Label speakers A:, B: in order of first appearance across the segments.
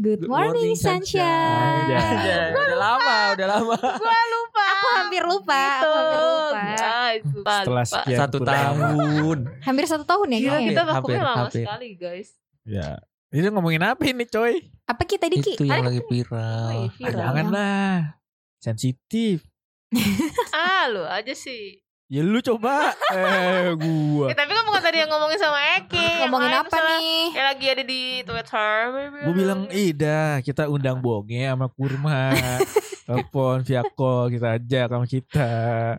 A: Good, morning, sunshine.
B: Iya.
C: Anjay, Iya, udah lama, udah lama.
D: Gue lupa.
A: Aku hampir lupa, aku
D: Gitu.
A: hampir lupa.
D: Guys, lupa,
B: Setelah
D: lupa.
B: sekian
C: Satu
B: bulan.
C: tahun.
A: Hampir satu tahun ya
D: Gila
A: kayaknya.
D: kita
C: Hampir,
D: vakumnya lama
C: hampir.
D: sekali guys.
B: Ya. Ini ngomongin apa ini coy?
A: Apa kita Diki?
C: Itu ya. yang lagi viral.
D: Wih,
C: Ah,
D: viral.
B: Janganlah. Sensitif.
D: Ah lu aja sih.
B: Ya lu coba.
D: Eh,
B: eh gua.
D: tapi kan bukan tadi yang ngomongin sama Eki. yang
A: Ngomongin
D: lain
A: apa
D: misalnya
A: nih?
D: Yang lagi ada di Twitter.
B: Gua bilang "Eh,
D: Hmm.
B: Ida kita undang bonge sama kurma. Telepon via call kita ajak sama kita.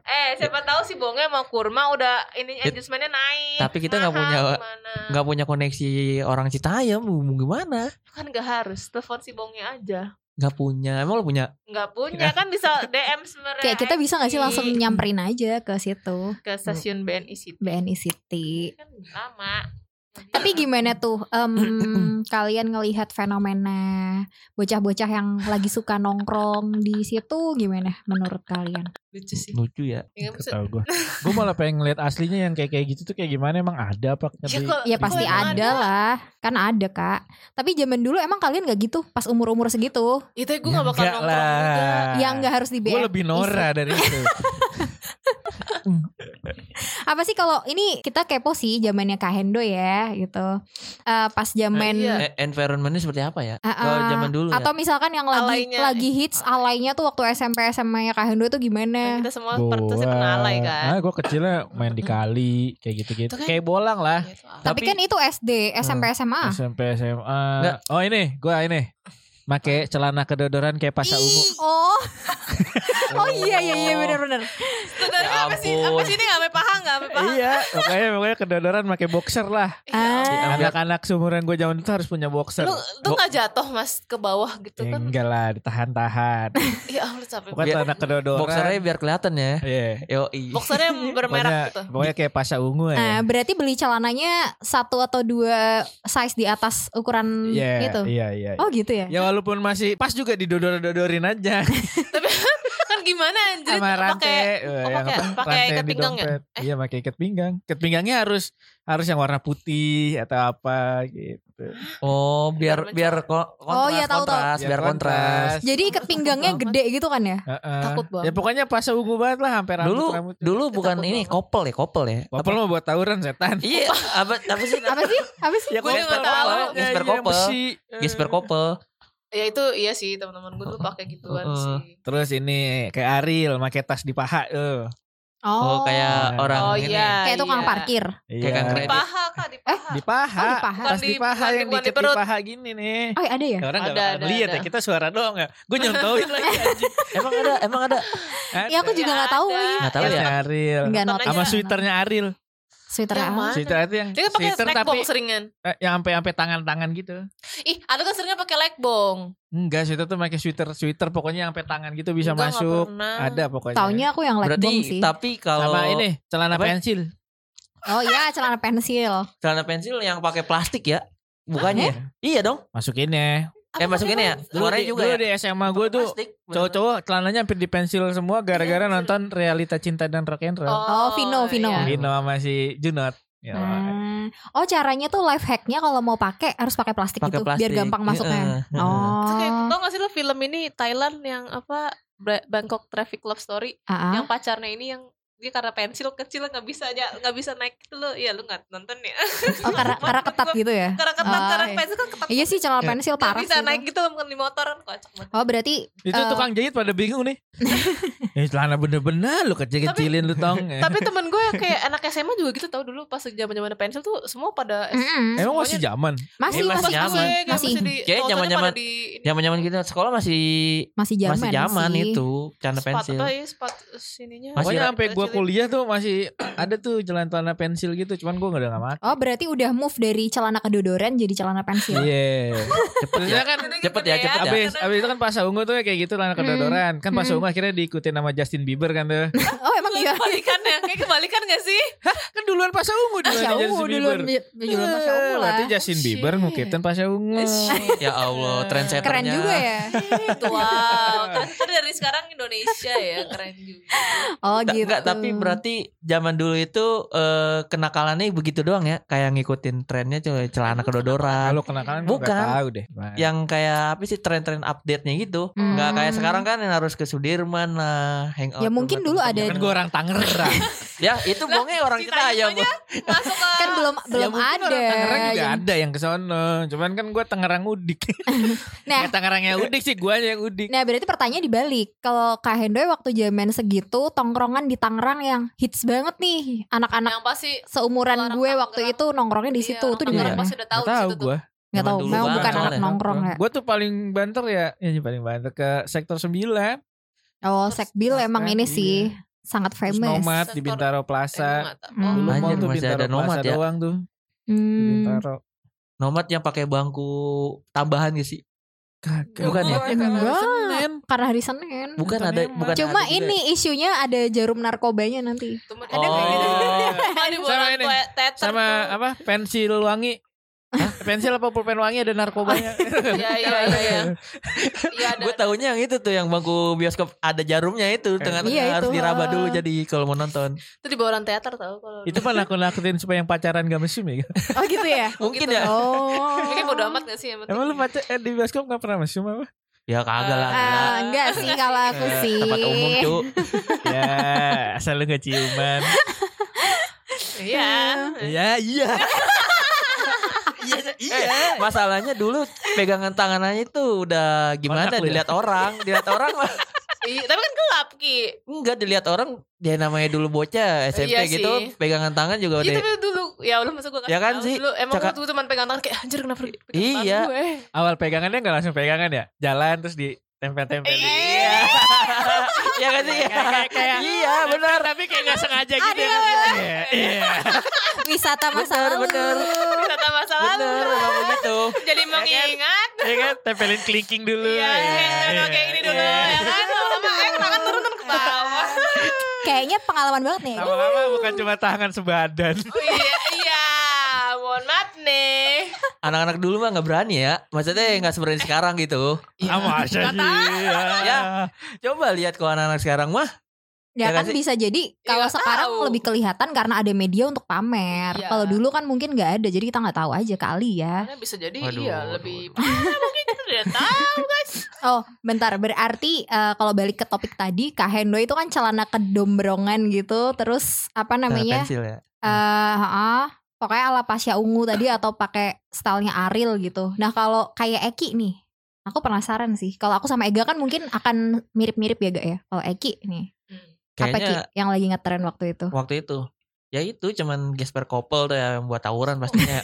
D: Eh siapa tahu si Bonge sama Kurma udah ini
C: Ya,
D: engagementnya naik.
C: tapi kita nggak
D: Mahal
C: punya-
D: gimana.
C: Gak punya koneksi orang Citayam mau gimana?
D: Kan nggak harus telepon si Bonge aja.
C: Gak punya. Emang lu punya?
D: Nggak punya kan bisa DM sebenarnya.
A: Kayak kita bisa gak sih
D: Eki
A: langsung nyamperin aja ke situ
D: ke stasiun BNI situ.
A: BNI City.
D: Kan lama.
A: Tapi gimana tuh em, kalian ngelihat fenomena bocah-bocah yang lagi suka nongkrong di situ gimana menurut kalian?
D: lucu sih.
C: Lucu ya.
D: Ya, maksud-
B: Tahu gua. Gua malah pengen ngeliat aslinya yang kayak kayak gitu tuh kayak gimana emang ada apa tapi
D: kok- kok
A: Ya pasti
D: emang
A: ada lah, kan ada kak. Tapi zaman dulu emang kalian gak gitu pas umur-umur segitu,
D: Itu gue gak bakal
C: Enggak
D: nongkrong juga. Ya,
C: lah.
B: Iya.
A: yang gak harus di
B: Gue
A: BNI.
B: lebih Nora dari itu.
A: Apa sih kalau ini kita kepo sih zamannya Kak Hendo ya gitu. Eh, pas zaman
D: Nah, iya.
C: Eh, environmentnya seperti apa ya?
A: Ah,
C: Kalau
A: ah.
C: zaman dulu ya.
A: atau misalkan yang lagi
D: Alaynya.
A: lagi hits alaynya tuh waktu SMP SMA nya Kak Hendo tuh
D: Kan
A: gimana?
D: kita semua pasti pernah alay kan.
B: Ah, gue kecilnya main di kali kayak gitu-gitu.
D: Itu kan-
B: Kayak bolang lah.
D: Gitu, alay.
A: Tapi,
C: tapi-
A: kan itu SD,
B: Hmm.
A: SMP,
D: Ah.
A: SMA.
B: SMP, SMA.
C: Nggak.
B: Oh ini, gue ini. Make celana kedodoran kayak pasca ungu.
A: Oh, oh iya iya iya benar-benar.
D: Tuh, tadi
C: Ya
D: apa sih? Apa
C: ampun.
D: sih ini gak sampai paha gak sampai paha?
B: iya, makanya makanya kedodoran pakai boxer lah.
A: Ah,
B: Anak-anak seumuran gue zaman itu harus punya boxer.
D: Lu tuh gak jatuh mas ke bawah gitu
B: Ya,
D: kan?
B: enggak lah, ditahan-tahan.
D: Ya Allah capek.
B: Pokoknya
C: Biar-
B: celana kedodoran.
C: Boxernya biar kelihatan ya.
B: Iya.
C: Yoi.
D: Boxernya bermerah
B: Pokoknya,
D: gitu. Eh,
B: pokoknya kayak pasca ungu
A: Ah,
B: ya.
A: berarti beli celananya satu atau dua size di atas ukuran
B: Iya,
A: itu.
B: iya, iya.
A: Oh gitu ya.
B: Ya walaupun masih pas juga didodor-dodorin aja.
D: Kan gimana anjir?
B: sama rantai
D: Pakai
B: eh,
D: oh,
B: yang
D: pakai- pakai
B: apa, rantai
D: ikat
B: di
D: pinggang ya?
B: dompet. iya pakai ikat pinggang ikat pinggangnya harus harus yang warna putih atau apa gitu
C: Oh, biar
D: Biar
C: biar ko- kontras,
A: Oh, iya, tahu, tahu.
B: Ya
C: kontras, biar kontras.
A: Jadi ikat pinggangnya gede gitu kan ya?
B: Heeh.
D: Takut banget.
B: ya pokoknya pas ungu banget lah sampai rambut
C: Dulu
B: rambut
C: dulu
D: Takut
C: bukan
D: banget.
C: ini kopel ya, kopel ya.
B: Wapel
C: Apa-
B: mau buat tawuran setan
C: Iya, apa apa sih?
A: Apa sih? Apa
C: Ya,
A: sih?
D: Gue juga nggak tahu.
C: Gesper
B: Iya, yang
C: kopel.
B: besi. Eh.
C: Gesper kopel.
D: Ya itu iya sih teman-teman gue tuh pakai gituan
C: Heeh.
D: sih.
B: terus ini kayak Ariel pakai tas di paha eh.
C: Oh, kayak
B: Oh,
C: orang
D: Oh
C: ini.
D: iya.
A: kayak
D: iya.
A: tukang parkir. Eh.
C: Kayak
B: Iya.
C: kan
D: Di
C: kredit.
D: paha kak di paha.
B: di paha
A: Oh, di paha.
B: tas di
D: Bukan di-
B: paha
D: bukan di-
B: yang
D: bukan di
B: dicekik
D: perut.
B: paha gini nih
A: Oh, ada ya?
B: Ya, orang
D: Ada,
B: gak bakal
D: ada,
B: ngeliat ya
D: ada.
B: kita suara doang ya gue nyontoin lagi anjing
C: Emang ada, emang ada.
D: Iya,
A: Ya aku juga nggak tahu lagi.
C: Nggak tahu ya.
B: Ariel
A: Enggak
D: Nonton
A: notice.
D: aja.
B: sama sweaternya Ariel
A: Sweater
D: Yang
A: apa?
D: mana?
B: sweater itu yang
D: Dia kan pakai
B: sweater
D: leg
B: tapi
D: bong seringan.
B: eh, yang sampai sampai tangan-tangan gitu
D: Ih, ada kan seringnya pakai leg bong.
B: enggak sweater tuh pakai sweater sweater pokoknya yang sampai tangan gitu bisa
D: Enggak, nggak
B: masuk
D: pernah.
B: ada pokoknya
A: Taunya aku yang leg bomb
C: Berarti
A: sih.
C: tapi kalau
B: sama ini celana
C: Apa?
B: pensil
A: Oh iya, celana pensil.
C: celana pensil yang pakai plastik ya. Bukannya? Iya dong.
B: masukinnya
C: Eh masukin ya. Luarnya
B: di,
C: juga ya.
B: dulu di SMA gue tuh
C: Plastik, bener.
B: cowok-cowok celananya hampir di pensil semua gara-gara
D: Iya,
B: nonton realita cinta dan rock and roll
A: Oh, Vino, Vino.
D: iya.
B: Vino sama si Junot ya,
A: Ah. Oh, caranya tuh life hacknya kalau mau pakai harus pakai plastik
C: Pakai
A: gitu
C: plastik.
A: biar gampang masuknya.
C: Heeh, heeh.
D: Terus kayak,
A: Oh.
D: tau gak sih lo film ini Thailand yang apa Bra- Bangkok Traffic Love Story
A: Ah, ah.
D: yang pacarnya ini yang dia karena pensil kecil nggak bisa aja nggak bisa naik itu lo ya lu nggak nonton ya
A: Oh, karena karena ketat gitu ya.
D: karena ketat
A: Ah,
D: karena
A: iya.
D: pensil kan ketat
A: Iya sih celana
B: Iya.
A: pensil
D: nggak
A: parah
D: bisa
A: sih.
D: naik
A: itu.
D: gitu mungkin di motor kocak banget
A: Oh, berarti
B: itu
A: Eh.
B: tukang jahit pada bingung nih Eh, celana bener-bener lu kecil-kecilin lu tong
D: tapi temen gue yang kayak anak SMA juga gitu tau dulu pas zaman zaman pensil tuh semua pada
A: mm-mm.
B: emang masih zaman
A: masih
C: Iya,
D: Pas
A: masih
C: Eh,
A: masih
C: masih nyaman.
D: gue, kayak
A: masih
D: di
C: Kayak
D: cowok-cowoknya
C: zaman-zaman-
D: pada di ini,
C: Zaman-zaman kita sekolah masih
A: masih zaman
C: masih zaman
A: sih.
C: itu celana
D: sepatu
C: pensil.
D: apa ya, sepatu sininya
C: Masih
B: Pokoknya sampai gua
D: kecilin.
B: kuliah tuh masih ada tuh celana-celana pensil gitu, cuman gua nggak ada nggak makan.
A: Oh, berarti udah move dari celana kedodoran jadi celana pensil.
B: Iya.
C: Cepet ya.
B: Terusnya kan
C: Cepet ya, cepet ya.
D: gitu
B: abis abis itu kan pas ungu tuh kayak gitu celana kedodoran. Kan pas
A: Hmm.
B: Belum akhirnya diikutin sama Justin Bieber kan tuh.
A: Oh emang iya.
D: Kebalikan ya, kayak kebalikan gak sih?
B: kan duluan Pasha Ungu duluan
A: Pasha Ungu duluan duluan Ya, Pasha Ungu lah.
B: Eh,
A: Eh,
B: Berarti Justin Bieber
D: Shit.
B: ngikutin Pasha Ungu.
C: Ya Allah, trendsetternya.
A: Keren juga ya.
D: Wow, transfer Kan, dari sekarang Indonesia ya, keren juga.
A: Oh
C: Ta-
A: gitu.
C: Enggak, tapi berarti zaman dulu itu eh, kenakalannya begitu doang ya, kayak ngikutin trennya cel- celana kedodoran.
B: Kalau kenakalan gue
C: Bukan.
B: gak tahu deh. Bang.
C: Yang kayak apa sih tren-tren update-nya gitu.
A: Hmm.
C: Enggak kayak sekarang kan yang harus ke Sudirman lah, hangout.
A: Ya, mungkin
C: sama
A: dulu
C: temen-temen.
A: ada-
B: kan gue orang Tangerang.
C: Ya, itu bohongnya orang kita
D: ditanya
C: ya. Bu.
D: Masuk ke
A: kan belum belum
B: Ya mungkin
A: ada. Ya,
B: Orang Tangerang juga
A: yang-
B: ada yang ke sono. Cuman kan gue Tangerang udik.
A: Nah.
B: Nah, Tangerangnya udik sih gue yang udik.
A: Nah berarti pertanyaan dibalik Kalau Kak Hendoy waktu zaman segitu Tongkrongan di Tangerang yang hits banget nih Anak-anak
D: yang pasti
A: seumuran
D: orang
A: gue
D: tanggerang.
A: waktu itu nongkrongnya di
D: iya,
A: situ Itu
D: orang
A: di
D: Tangerang
A: mana?
C: Iya.
D: pasti udah tahu
B: Nggak
D: di
B: tahu
D: situ tuh.
B: gue.
A: Gak
C: Zaman
A: tau
C: dulu
A: Memang
C: banget
A: bukan anak
C: soalnya.
A: nongkrong ya
B: Gue tuh paling banter ya. Ya paling banter ke sektor 9.
A: Oh Sekbil
B: Terus
A: emang
B: kan,
A: ini
B: iya.
A: sih Sangat
B: Terus
A: famous
B: Nomad di
D: Sektor-
B: Bintaro
D: Eh, gua
B: Plaza.
D: nggak tahu.
A: Hmm.
B: Dulu mau
C: Anjir,
B: tuh
C: masih
B: Bintaro
C: ada nomad
B: Plaza
C: ya?
B: doang tuh. Di
A: Hmm.
B: Bintaro.
C: Nomad yang pakai bangku tambahan gak sih?
B: Kagak.
C: Bukan ya?
A: Eh, enggak. Karena hari Senin
C: Bukan
B: Nonton
C: ada
B: nomad.
C: bukan
A: Cuma
C: ada juga ya?
A: ini isunya ada jarum narkobanya nanti
D: Temen-
A: Ada
D: Oh.
A: nggak
B: iya.
A: gitu?
D: Cuma di
B: Sama
D: bola
B: ini.
D: kue teater
B: sama
D: tuh.
B: apa pensil wangi pensil apa pulpen wangi ada narkobanya
D: Iya iya iya. iya. Iya ada.
C: Gue taunya yang itu tuh yang bangku bioskop ada jarumnya itu tengah-tengah
A: Iya,
C: harus
A: itu.
C: diraba dulu
A: Ah.
C: jadi kalau mau nonton.
D: Itu di bawah orang teater tau kalau.
B: itu mah aku lakuin supaya yang pacaran gak mesum ya
A: Oh gitu ya
C: Mungkin
D: gitu.
C: ya.
A: Oh
D: Mungkin bodo amat gak sih yang penting.
B: emang lu pacar eh, di bioskop gak pernah mesum apa
C: Ya kagak lah. enggak.
A: Ah, enggak sih kalau aku
B: Eh,
A: sih
C: Tempat umum cu.
B: ya asal lu gak ciuman
D: Iya.
B: ya iya iya
C: Eh, masalahnya dulu pegangan tanganannya itu udah gimana
B: Kontrak lu ya?
C: dilihat orang, dilihat orang mah-
D: Iya, Tapi kan gelap Ki.
C: enggak dilihat orang dia namanya dulu bocah SMP
D: Iya
C: gitu,
D: sih.
C: pegangan tangan
B: Oh,
C: juga
D: Iya
C: udah.
D: tapi dulu ya Allah masa gue kasih
C: Ya kan
D: tahu
C: sih,
D: dulu emang
C: cakap-
D: gue tuh cuma pegang tangan kayak anjir kenapa pegang tangan
C: Iya.
D: gue.
B: awal pegangannya gak langsung pegangan ya jalan terus di tempel-tempel
D: Iya.
C: Iya kan sih?
B: Kayak- kayak-
C: Iya, benar.
B: tapi kayak gak sengaja gitu
A: Ada
B: ya kan? Iya, iya.
A: Wisata masa
C: Bener,
A: lalu
C: bener.
D: Kata masa lalu.
C: Bener, emang begitu.
D: Jadi
A: Iya kan?
D: mengingat
B: ya kan tempelin kelingking dulu
D: Iya,
B: Iya.
D: iya, kayak ini dulu ya kan. Lama-lama eh, tangan turun kan ke bawah.
A: Kayaknya pengalaman banget nih
B: Lama-lama bukan cuma tangan sebadan.
D: Oh iya, iya. Mohon maaf nih.
C: Anak-anak dulu mah nggak berani ya. Maksudnya nggak seberani sekarang gitu.
A: Iya.
B: Ah, masa sih?
C: Ya. Coba lihat kalau anak-anak sekarang mah
A: Ya,
C: Ya
A: kan
C: kan sih? Iya,
A: bisa jadi kalau
D: nggak
A: sekarang
D: tahu.
A: lebih kelihatan karena ada media untuk pamer.
D: Iya.
A: Kalau dulu kan mungkin nggak ada, jadi kita nggak tahu aja kali ya.
D: Karena bisa jadi
C: Waduh,
D: iya
C: waduh,
D: lebih Ah, mungkin kita tidak tahu.
A: Oh, bentar. Berarti eh, kalau balik ke topik tadi, Kak Hendo itu kan celana kedombrongan gitu, terus apa namanya?
C: pensil ya.
A: Eh, heeh, pokoknya ala Pasya Ungu tadi atau pakai stylenya Aril gitu. Nah, kalau kayak Eki nih, aku penasaran sih. Kalau aku sama Ega kan mungkin akan mirip-mirip ya, Ga ya. Kalau Eki nih, apa Ki
C: Kayaknya
A: yang lagi ngetren waktu itu?
C: waktu itu ya itu cuman gesper couple tuh ya yang buat tawuran pastinya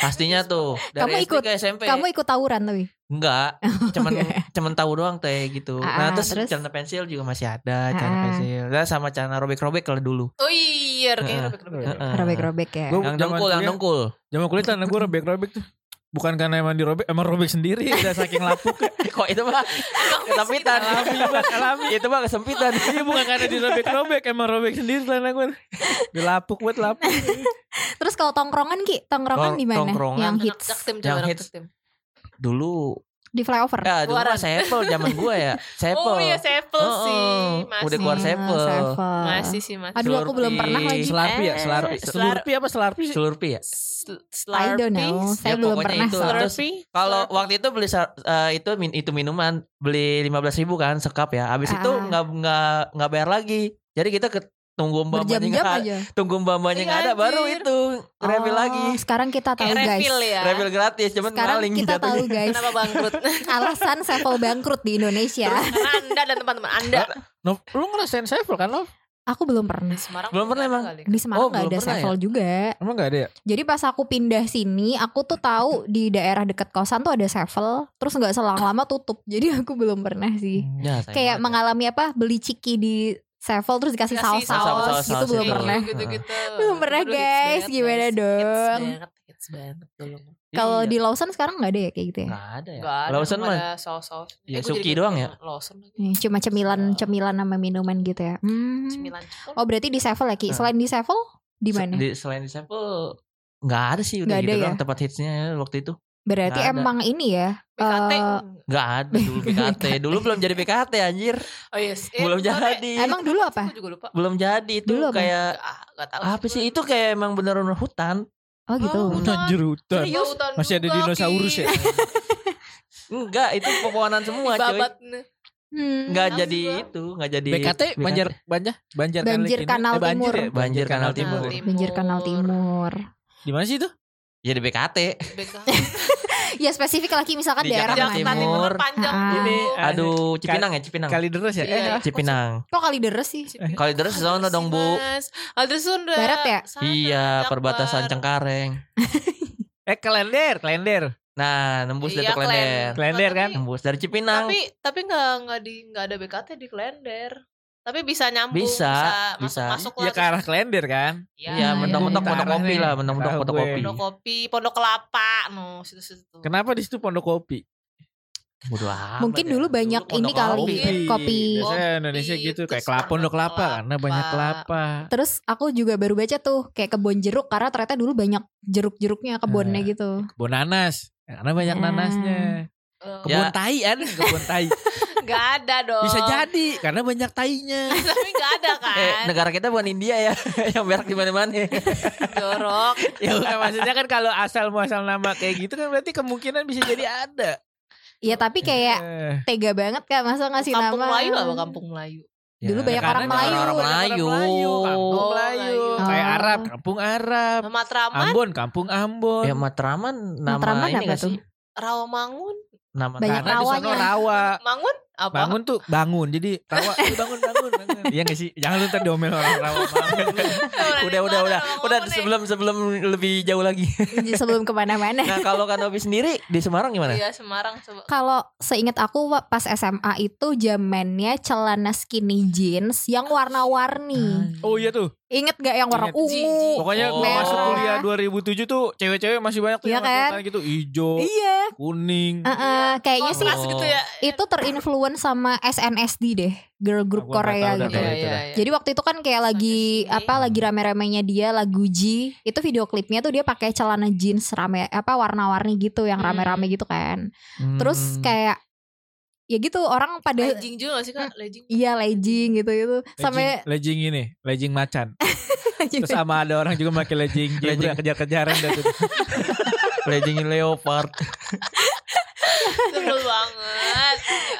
C: pastinya tuh dari
A: Kamu
C: SD
A: ikut-
C: ke SMP
A: Kamu ikut tawuran tapi.
C: enggak cuman cuman tahu doang teh gitu
A: Ah,
C: nah terus,
A: terus?
C: celana pensil juga masih ada celana
A: Ah.
C: pensil nah, sama celana robek-robek kalau dulu
D: Oh iya,
C: Heeh.
D: kayak robek-robek.
C: Heeh.
A: Robek-robek ya.
B: Gua-
C: yang
B: Zaman
C: dongkul yang
B: kuliah.
C: dongkul
B: Jaman kulit tanah gue robek-robek tuh. Bukan karena emang dirobek, emang robek sendiri udah saking lapuk.
C: kok itu mah kesempitan
B: Alami banget, alami.
C: itu mah kesempitan
B: Iya bukan karena dirobek-robek, emang robek sendiri tanah gue. Dilapuk buat lapuk.
A: Terus kalau tongkrongan Ki, tongkrongan
C: Tong-
A: di mana?
C: tongkrongan.
A: Yang
D: Anak
A: hits
D: Jaktim,
C: Yang
D: anak
C: hits.
D: Jaktim.
C: dulu
A: di flyover.
C: ya dulu
D: Keluaran.
C: mah sepel zaman gua ya sepel
D: Oh iya, sepel
C: Oh,
D: sih.
C: oh.
D: Masih.
C: Udah keluar
A: Ah,
C: sepel.
A: Sevel.
D: Masih sih, masih.
A: Aduh aku belum
C: Slurpee.
A: pernah lagi. Eh,
B: Selarpi ya, selarpi.
D: Slurpee.
B: Selarpi apa selarpi sih?
C: Slurpee ya
D: Sl-
A: I don't
D: Slurpee,
A: know. Saya
C: Ya,
A: belum
C: pokoknya
A: pernah
C: itu.
A: soalnya.
C: Terus
D: Slurpee.
C: Kalau waktu itu beli sar- eh, itu min- itu minuman beli 15.000 ribu kan sekap ya. Habis itu
A: Ah.
C: nggak nggak nggak bayar lagi. Jadi kita ke tunggu mbaknya
A: Berjam-jam
C: nggak
A: aja.
C: tunggu mbaknya
D: Iya,
C: nggak ada baru
D: anjir.
C: itu kan refill
A: Oh,
C: lagi.
A: Sekarang kita tahu
D: Kayak
A: guys.
D: refill ya.
C: Refill gratis cuman
A: Sekarang
C: maling
A: kita
C: jatuhnya.
A: tahu guys
D: Kenapa bangkrut?
A: alasan Sevel bangkrut di Indonesia.
D: Karena Anda dan teman-teman Anda.
B: No, lu ngerasain sevel kan lo?
A: aku belum pernah.
D: Nah, Semarang
C: Belum pernah
D: ada
C: emang.
D: kali.
A: Di Semarang
C: Oh,
A: nggak
C: belum
A: ada
C: pernah ya?
A: Sevel juga.
B: Emang gak ada ya?
A: Jadi pas aku pindah sini, aku tuh tahu di daerah deket kosan tuh ada Sevel. Terus nggak selang lama tutup. Jadi aku belum pernah sih.
C: Ya, sayang
A: Kayak
C: banget.
A: mengalami apa beli ciki di Sevel terus dikasih
D: Dikasih
A: saus-saus
C: saus-saus,
A: gitu
C: saus-saus
A: belum
C: gitu.
A: pernah.
D: Gitu-gitu.
A: Belum pernah,
D: Dulu hits
A: guys.
D: banget,
A: Gimana
D: guys.
A: dong?
D: Hits banget, hits banget dulu.
A: Kalau
C: Iya.
A: di Lawson sekarang nggak ada ya kayak gitu ya?
C: Nggak ada ya.
D: Enggak ada.
C: Lawson
D: cuma
C: mah
D: ada saus-saus. Eh,
C: Ya,
D: gua jadi
C: Suki
D: keinget
C: doang ya?
D: Lawson lagi.
A: Ya, Cuma
C: Iya.
A: cemilan-cemilan sama minuman gitu ya. Hmm.
D: Cemilan coklat.
A: Oh berarti di Sevel ya Ki?
C: Nah.
A: Selain di Sevel di mana?
C: Di, selain di sampel nggak ada sih udah
A: Nggak
C: gitu
A: ada ya?
C: doang tempat hitsnya ya waktu itu
A: Berarti
C: nggak ada.
A: emang ini ya.
D: BKT.
A: eh,
C: nggak ada dulu PKT dulu belum jadi PKT anjir
D: oh yes.
C: belum
D: BKT.
C: jadi
A: Eh, Emang dulu apa?
D: Aku juga lupa.
C: belum jadi itu
A: Dulu apa?
C: kayak
D: Ah, gak tahu.
C: apa sih itu kayak emang beneran hutan
A: Oh gitu.
D: Oh,
B: Hutan jerutan.
D: Serius? Hutan
B: Masih ada
D: juga,
B: dinosaurus
D: Ki.
B: ya?
C: enggak itu pepohonan semua cuy
D: Babat. nih.
A: Hmm.
C: nggak
D: Apa sih
C: jadi
D: gua?
C: itu nggak jadi
B: BKT Banjar Banjar Banjar Kali
A: Banjir
B: Kini.
A: Kanal
B: Eh, banjir
A: Timur.
B: ya? Banjir Kanal Timur.
D: Timur.
A: Banjir Kanal Timur.
B: Di mana sih itu?
C: jadi BKT
D: BKT.
A: Ya spesifik lagi misalkan
C: Di
A: daerah
C: Jakarta
D: Jakarta
A: mana.
D: Timur panjang.
A: Ah.
D: tuh.
B: Ini, ah,
C: aduh Cipinang ya Cipinang
B: Kali deres ya?
D: Iya.
B: Eh,
C: Cipinang
A: Kok kali deres sih?
D: Cipinang.
C: Kali deres
D: Ada
C: sono dong, Bu.
D: Simas. Ada Sunda.
A: Barat ya?
D: Sana,
C: iya
D: Jakbar.
C: perbatasan Cengkareng
B: eh Klender, Klender.
C: nah nembus dari
D: Iya, Klen.
C: Klender
B: Klender kan?
D: Tapi-
C: nembus dari Cipinang
D: Tapi tapi nggak nggak di nggak ada BKT di Klender. Tapi bisa nyambung.
C: Bisa, bisa.
D: Masuk, masuk
B: Ya ke arah Klender kan?
D: Ah,
C: Iya, mentok-mentok
B: iya.
C: pondok kopi lah, mentok-mentok
B: Tahu
C: pondok
B: gue.
C: kopi.
D: Pondok
A: iya.
D: kopi, pondok kelapa, no situ situ.
B: Kenapa di situ pondok kopi?
C: Bodo amat
A: Mungkin
C: ya.
A: dulu banyak ini
C: pondok
A: kali.
C: kopi.
B: Iya,
A: kopi.
B: Biasanya Indonesia gitu kayak
D: terus
B: kelapa
D: pondok
B: pondok kelapa
D: kelapa.
B: karena banyak kelapa.
A: Terus aku juga baru baca tuh kayak kebun jeruk karena ternyata dulu banyak jeruk-jeruknya kebunnya
B: Eh,
A: gitu.
B: Kebun nanas karena banyak
A: Ah.
B: nanasnya.
D: Eh,
B: Kebun
C: Ya.
B: tai ada kebun tai.
D: nggak ada dong.
B: Bisa jadi karena banyak tainya.
D: Tapi nggak ada kan.
C: Eh, negara kita bukan India ya, yang berak di mana-mana.
D: Jorok.
B: ya bukan, maksudnya kan kalau asal muasal nama kayak gitu kan berarti kemungkinan bisa jadi ada.
A: Ya tapi kayak
B: Eh,
A: tega banget kan masa ngasih nama.
D: kampung Melayu apa kampung Melayu?
A: Dulu banyak
B: karena
A: orang
B: banyak
A: Melayu.
C: Ya, Orang Melayu.
B: Kampung
D: Oh,
B: Melayu.
D: Melayu.
B: Kayak
A: Oh.
B: Arab, kampung Arab.
D: Matraman,
B: Ambon, kampung Ambon.
C: Ya Matraman nama
A: Matraman
C: ini
A: apa
C: nggak sih?
A: tuh?
D: Rawamangun,
C: Nama
A: Banyak
B: karena di
A: rawanya.
B: sono rawa.
D: Mangun apa?
B: Bangun tuh bangun. Jadi rawa "Eh, bangun bangun. bangun." Iya gak sih? Jangan lu ntar diomel orang rawa bangun.
C: Udah, udah, udah. Udah sebelum sebelum lebih jauh lagi.
A: sebelum kemana-mana.
C: Nah, kalau Kanopi sendiri di Semarang gimana?
D: Iya Semarang coba.
A: Kalau seingat aku wa- pas SMA itu zamannya celana skinny jeans yang warna-warni.
B: Oh iya tuh.
A: Ingat gak yang warna
B: Ingat.
A: ungu?
B: Pokoknya gua
C: Merah.
B: masuk kuliah 2007 tuh cewek-cewek masih banyak tuh
A: Oh. Iya
B: yang pakai
A: kan?
B: celana gitu hijau,
A: Iya.
B: kuning.
A: Heeh, kayaknya sih
D: Kontras gitu ya.
A: itu terinfluence sama SNSD deh, girl group
B: Aku nggak
A: Korea
B: tahu dah
A: gitu.
B: kalau itu
D: Iya,
B: dah.
D: iya.
A: Jadi waktu itu kan kayak lagi
D: SNSD.
A: apa lagi rame-ramenya dia lagu G itu video klipnya tuh dia pakai celana jeans rame apa warna-warni gitu yang
D: Hmm.
A: rame-rame gitu kan.
C: Hmm.
A: Terus kayak ya gitu orang pada
D: Lejing juga gak sih kak? Lejing.
A: iya legging gitu gitu sampai
B: Legging ini, legging macan.
D: Gitu.
B: Terus sama ada orang juga pakai legging
C: Legging.
B: zebra kejar-kejaran dah tuh.
C: Legend Leopard.
D: Sebel banget.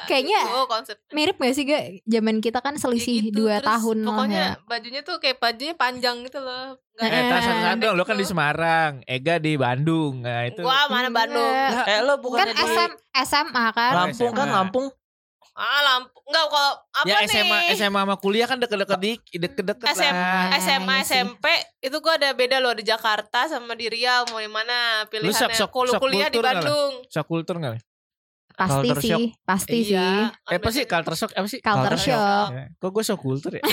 A: Kayaknya
D: Oh konsep.
A: mirip gak sih gak zaman kita kan selisih
D: Gitu,
A: dua
D: terus
A: tahun lah
D: Pokoknya
A: ya.
D: bajunya tuh kayak bajunya panjang gitu loh. Nggak
A: Eh,
B: Eh,
D: ada
B: tas
A: satu-satu
B: satu dong. Lo kan di
D: gitu.
B: Semarang, Ega di Bandung. Nah, itu
D: Wah mana Bandung?
A: Enggak.
C: Eh, lo bukan
A: Iya. kan SM, SMA kan
B: Lah,
C: Lampung kan
B: SMA.
C: Lampung.
D: Ah lampu. Enggak kalau apa
B: ya
D: nih?
B: SMA SMA sama kuliah kan deket-deket dik, deket-deket
D: SM
B: lah.
D: SMA
A: iya Ah, sih.
D: SMP itu gua ada beda loh di Jakarta sama di Riau mau di mana pilihannya.
B: sok-
D: Kalau
B: sok
D: kuliah di
B: kultur nggak lah?
D: Bandung. Iya,
B: Shock culture nggak?
A: pasti
C: culture
A: sih
C: shock.
A: pasti sih
D: Oh,
B: Eh apa sih culture shock apa sih?
A: culture
C: Culture
A: shock
B: Ya, Kok gue shock culture ya?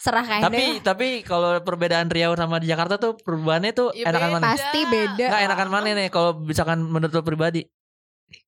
A: serahkan
C: Tapi
A: deh
C: tapi kalau perbedaan Riau sama di Jakarta tuh perubahannya tuh
D: Ya,
C: enakan mana?
D: beda.
A: pasti beda
C: Enggak enakan mana nih kalau misalkan menurut lo pribadi?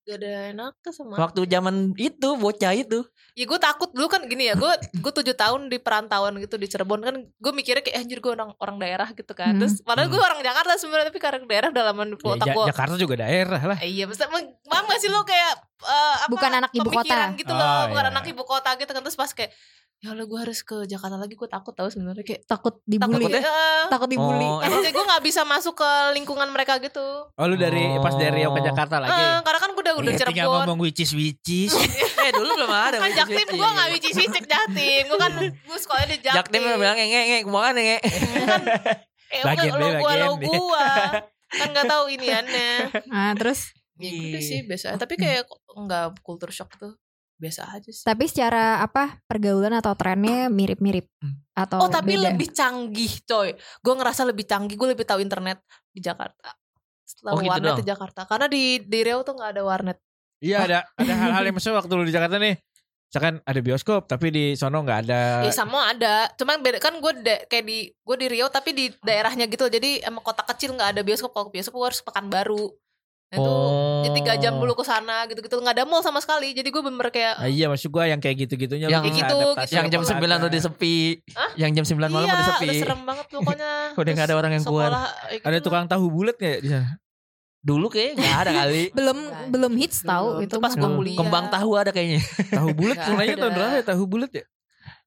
D: Gak ada enak sama.
C: Waktu zaman itu bocah itu.
D: Ya gue takut dulu kan gini ya Gue gue 7 tahun di perantauan gitu Di Cirebon kan Gue mikirnya kayak "Eh, Anjir gue orang, orang daerah gitu kan
A: Hmm.
D: Terus padahal gue
C: Hmm.
D: orang Jakarta sebenarnya Tapi karena daerah udah lama di
B: Ya,
D: otak
B: Ja-
D: gue
B: Jakarta juga daerah lah.
D: Eh, Iya maksudnya meng- Paham gak sih lo kayak eh, apa,
A: Bukan anak ibu
D: pemikiran
A: kota.
D: gitu loh
B: Oh,
D: Bukan
B: iya.
D: anak ibu kota gitu kan Terus pas kayak Ya Allah gue harus ke Jakarta lagi Gue takut tau sebenarnya kayak
A: takut
D: Takut
A: dibully
D: ya
A: takut dibully
C: Oh, emang-
D: Maksudnya gue gak bisa masuk ke lingkungan mereka gitu
B: Oh lu dari pas dari Riau ke
C: Oh.
B: Jakarta lagi.
D: Eh, Karena kan gue udah, udah
B: Iya, tinggal
D: Cirebon
B: ngomong which is which is.
C: eh dulu belum ada. Iya,
D: Kan Jaktim gue gak wicik-wicik Jaktim Gue kan gue sekolahnya di Jaktim
C: Jaktim lo bilang nge nge kemana nge.
D: kan eh,
B: Bagian
D: lo
B: deh,
D: gua
B: bagian
D: lo
B: deh.
D: gua kan nggak tahu ini aneh
A: Nah, terus
D: ya gitu sih biasa tapi kayak nggak kultur shock tuh biasa aja sih
A: tapi secara apa pergaulan atau trennya mirip-mirip atau
D: oh tapi
A: beda?
D: lebih canggih coy gue ngerasa lebih canggih gue lebih tahu internet di Jakarta setelah
C: Oh, gitu
D: warnet
C: doang?
D: di Jakarta karena di di Riau tuh nggak ada warnet
B: Iya ada ada hal-hal yang masuk waktu lu di Jakarta nih. misalkan ada bioskop tapi di sono nggak ada
D: Ya sama ada, cuman beda kan gue kayak di gue di Riau tapi di daerahnya gitu, jadi emang kota kecil nggak ada bioskop. Kalau ke bioskop gue harus pekan baru. Itu
C: Oh.
D: jadi tiga jam dulu ke sana gitu-gitu nggak ada mall sama sekali. Jadi gue bener kayak
B: Ah, iya maksud gua yang kayak gitu-gitunya
C: Yang
B: bisa
D: gitu,
B: adaptasi
D: gitu.
C: Yang jam
B: ke
C: 9
B: mana.
C: udah sepi.
D: Hah?
C: Yang jam 9 malam
D: iya,
C: udah sepi.
D: udah serem banget pokoknya.
C: Udah nggak ada
D: Terus
C: orang yang keluar.
D: sekolah, eh, gitu
B: ada
D: mah.
B: tukang tahu bulat nggak di sana
C: Dulu kayaknya nggak ada kali.
A: belum
D: Nah,
A: belum hits tahu
D: Belum.
A: gitu. itu
D: Itu pas
A: mah.
D: gue
C: Dulu.
D: kuliah.
C: Kembang tahu ada kayaknya.
B: tahu bulat
D: Nggak
B: mulainya tahun
D: ada.
B: berapa ya tahu bulat ya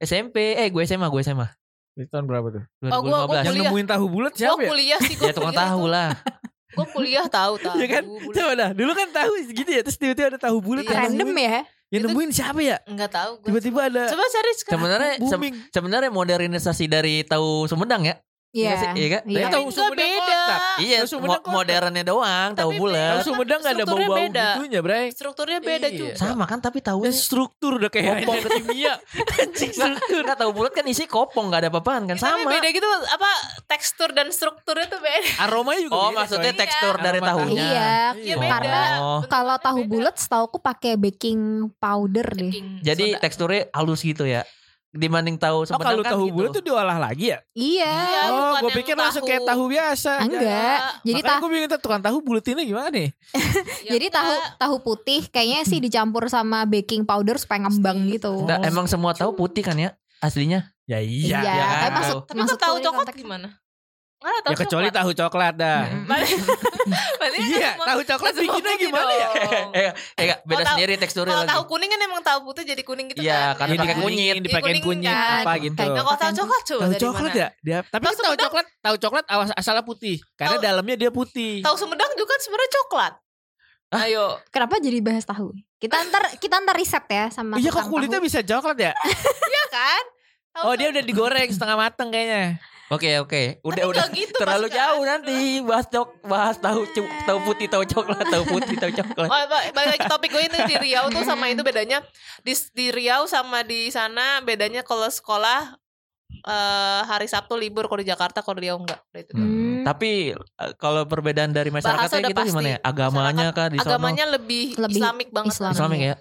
C: SMP, eh gue SMA, gue SMA.
B: Itu tahun berapa tuh
D: Oh, gua- gua
C: 2015.
B: yang
D: Kuliah.
B: nemuin tahu bulat
D: Gue
B: siapa ya
D: kuliah sih gue
C: Ya tukang tahu lah.
D: Gue kuliah tahu tahu.
B: Iya kan?
D: bulat.
B: Coba dah, dulu kan tahu gitu ya, terus tiba-tiba ada tahu bulat
D: Iya.
B: yang
A: Random
B: nemuin-
A: ya.
B: Yang
D: Itu-
B: nemuin siapa ya?
D: Nggak tahu. gua.
B: Tiba-tiba ada
D: Coba cari sekarang.
C: Sebenarnya se-
B: booming.
C: sebenarnya modernisasi dari tahu Sumedang ya.
A: Iya.
C: sih? Iya kan?
A: Iya.
B: Tahu
D: Enggak,
B: Sumedang
D: beda.
B: kotak.
C: Iya,
B: Tahu Sumedang
C: mo-
B: kotak.
C: modernnya doang, tahu
D: Tapi
B: Tahu
C: bulat.
D: beda.
B: Sumedang nggak ada
D: Strukturnya
B: bau-bau
D: beda.
B: gitunya, Bray.
D: Strukturnya beda
B: Iya.
D: juga.
C: Sama kan tapi tahu
B: Ya, struktur udah kayak
C: Kopong.
B: energi kimia. Anjing struktur.
C: Enggak tahu bulat kan isi kopong nggak ada apa-apaan
B: Iya,
C: kan
D: Tapi
C: sama.
D: beda gitu apa tekstur dan strukturnya tuh beda.
B: Aromanya juga. ya,
C: Oh,
B: beda,
C: maksudnya
B: coy.
D: Iya.
C: tekstur dari
B: Aroma
C: tahunya.
A: Iya.
D: Iya
B: Oh.
D: beda.
A: Karena
C: Oh.
A: Kalau tahu
D: Beda.
A: bulat, setauku pakai baking powder deh.
D: Baking soda.
C: Jadi teksturnya halus gitu ya. Dibanding tahu
B: Oh,
C: Sumedang
B: kalau
C: kan
B: tahu
C: gitu.
B: bulat tuh diolah lagi ya?
D: Iya,
A: Iya.
B: oh,
D: bukan
B: gue
D: yang
B: pikir langsung
D: tahu.
B: kayak tahu biasa.
A: Enggak. Jadi
B: Jadi
A: tahu
B: Makanya gue bikin tukang tahu bulat ini gimana nih?
D: Ya
A: Jadi tahu
D: enggak.
A: tahu putih kayaknya sih dicampur sama baking powder supaya ngembang gitu.
C: Nggak, emang semua tahu putih kan ya aslinya?
B: Ya
A: Iya,
B: iya. ya,
C: tapi
B: kan?
C: maksud-
D: Tapi kalau
A: Masuk
D: tahu
A: kuliah
D: coklat
A: konteksnya.
D: gimana? Enggak ada tahu
B: ya kecuali
D: coklat.
B: tahu coklat dah.
A: Iya.
C: Mm.
D: Berarti- berarti kan
B: Iya,
D: semua-
B: tahu coklat
D: semua
B: bikinnya
D: putih
B: gimana ya?
D: dong.
C: eh, eh, enggak, beda
D: Oh. Kalau tahu-
C: sendiri teksturnya
D: Kalau
C: lagi.
D: tahu kuning kan emang tahu putih jadi kuning gitu
C: Iya,
D: kan.
C: karena
D: Iya,
B: Ini
C: pakai
D: kan?
C: kunyit.
B: dikunyit, dipakein
D: Kuning
B: kunyit
D: kan.
B: apa gitu.
A: Kayak
D: Nah, kalau tahu coklat coba
B: Tahu
D: dari
B: coklat
D: mana?
B: ya? Dia, tapi
D: Tahu
B: kan tahu
D: Sumedang-
B: coklat, tahu coklat awas asal putih karena
D: Tahu-
B: dalamnya dia putih.
D: Tahu Sumedang juga kan sebenarnya coklat. Ayo.
A: Kenapa jadi bahas tahu? Kita ntar kita ntar riset ya sama
B: Iya kok
A: tukang
B: kulitnya
A: tahu.
B: bisa coklat ya?
D: Iya kan? Tahu
B: Oh dia udah digoreng setengah mateng kayaknya.
C: Oke, oke. Udah,
D: Tapi
C: udah.
D: nggak gitu
C: Terlalu
D: pasti kan.
C: jauh nanti bahas cok bahas tahu cu- tahu putih, tahu coklat, tahu putih, tahu coklat.
D: Oh, ba- balik lagi ke topik gue ini di Riau tuh sama itu bedanya di, di Riau sama di sana bedanya kalau sekolah eh, hari Sabtu libur kalau di Jakarta kalau di Riau enggak. Udah itu.
A: Hmm.
C: Tapi eh, kalau perbedaan dari
D: Bahasa
C: masyarakatnya
D: udah
C: kita
D: pasti.
C: gimana ya? Agamanya kah di sono?
D: Agamanya lebih,
A: Lebih
D: Islamik banget.
A: Islam.
C: Islamik ya.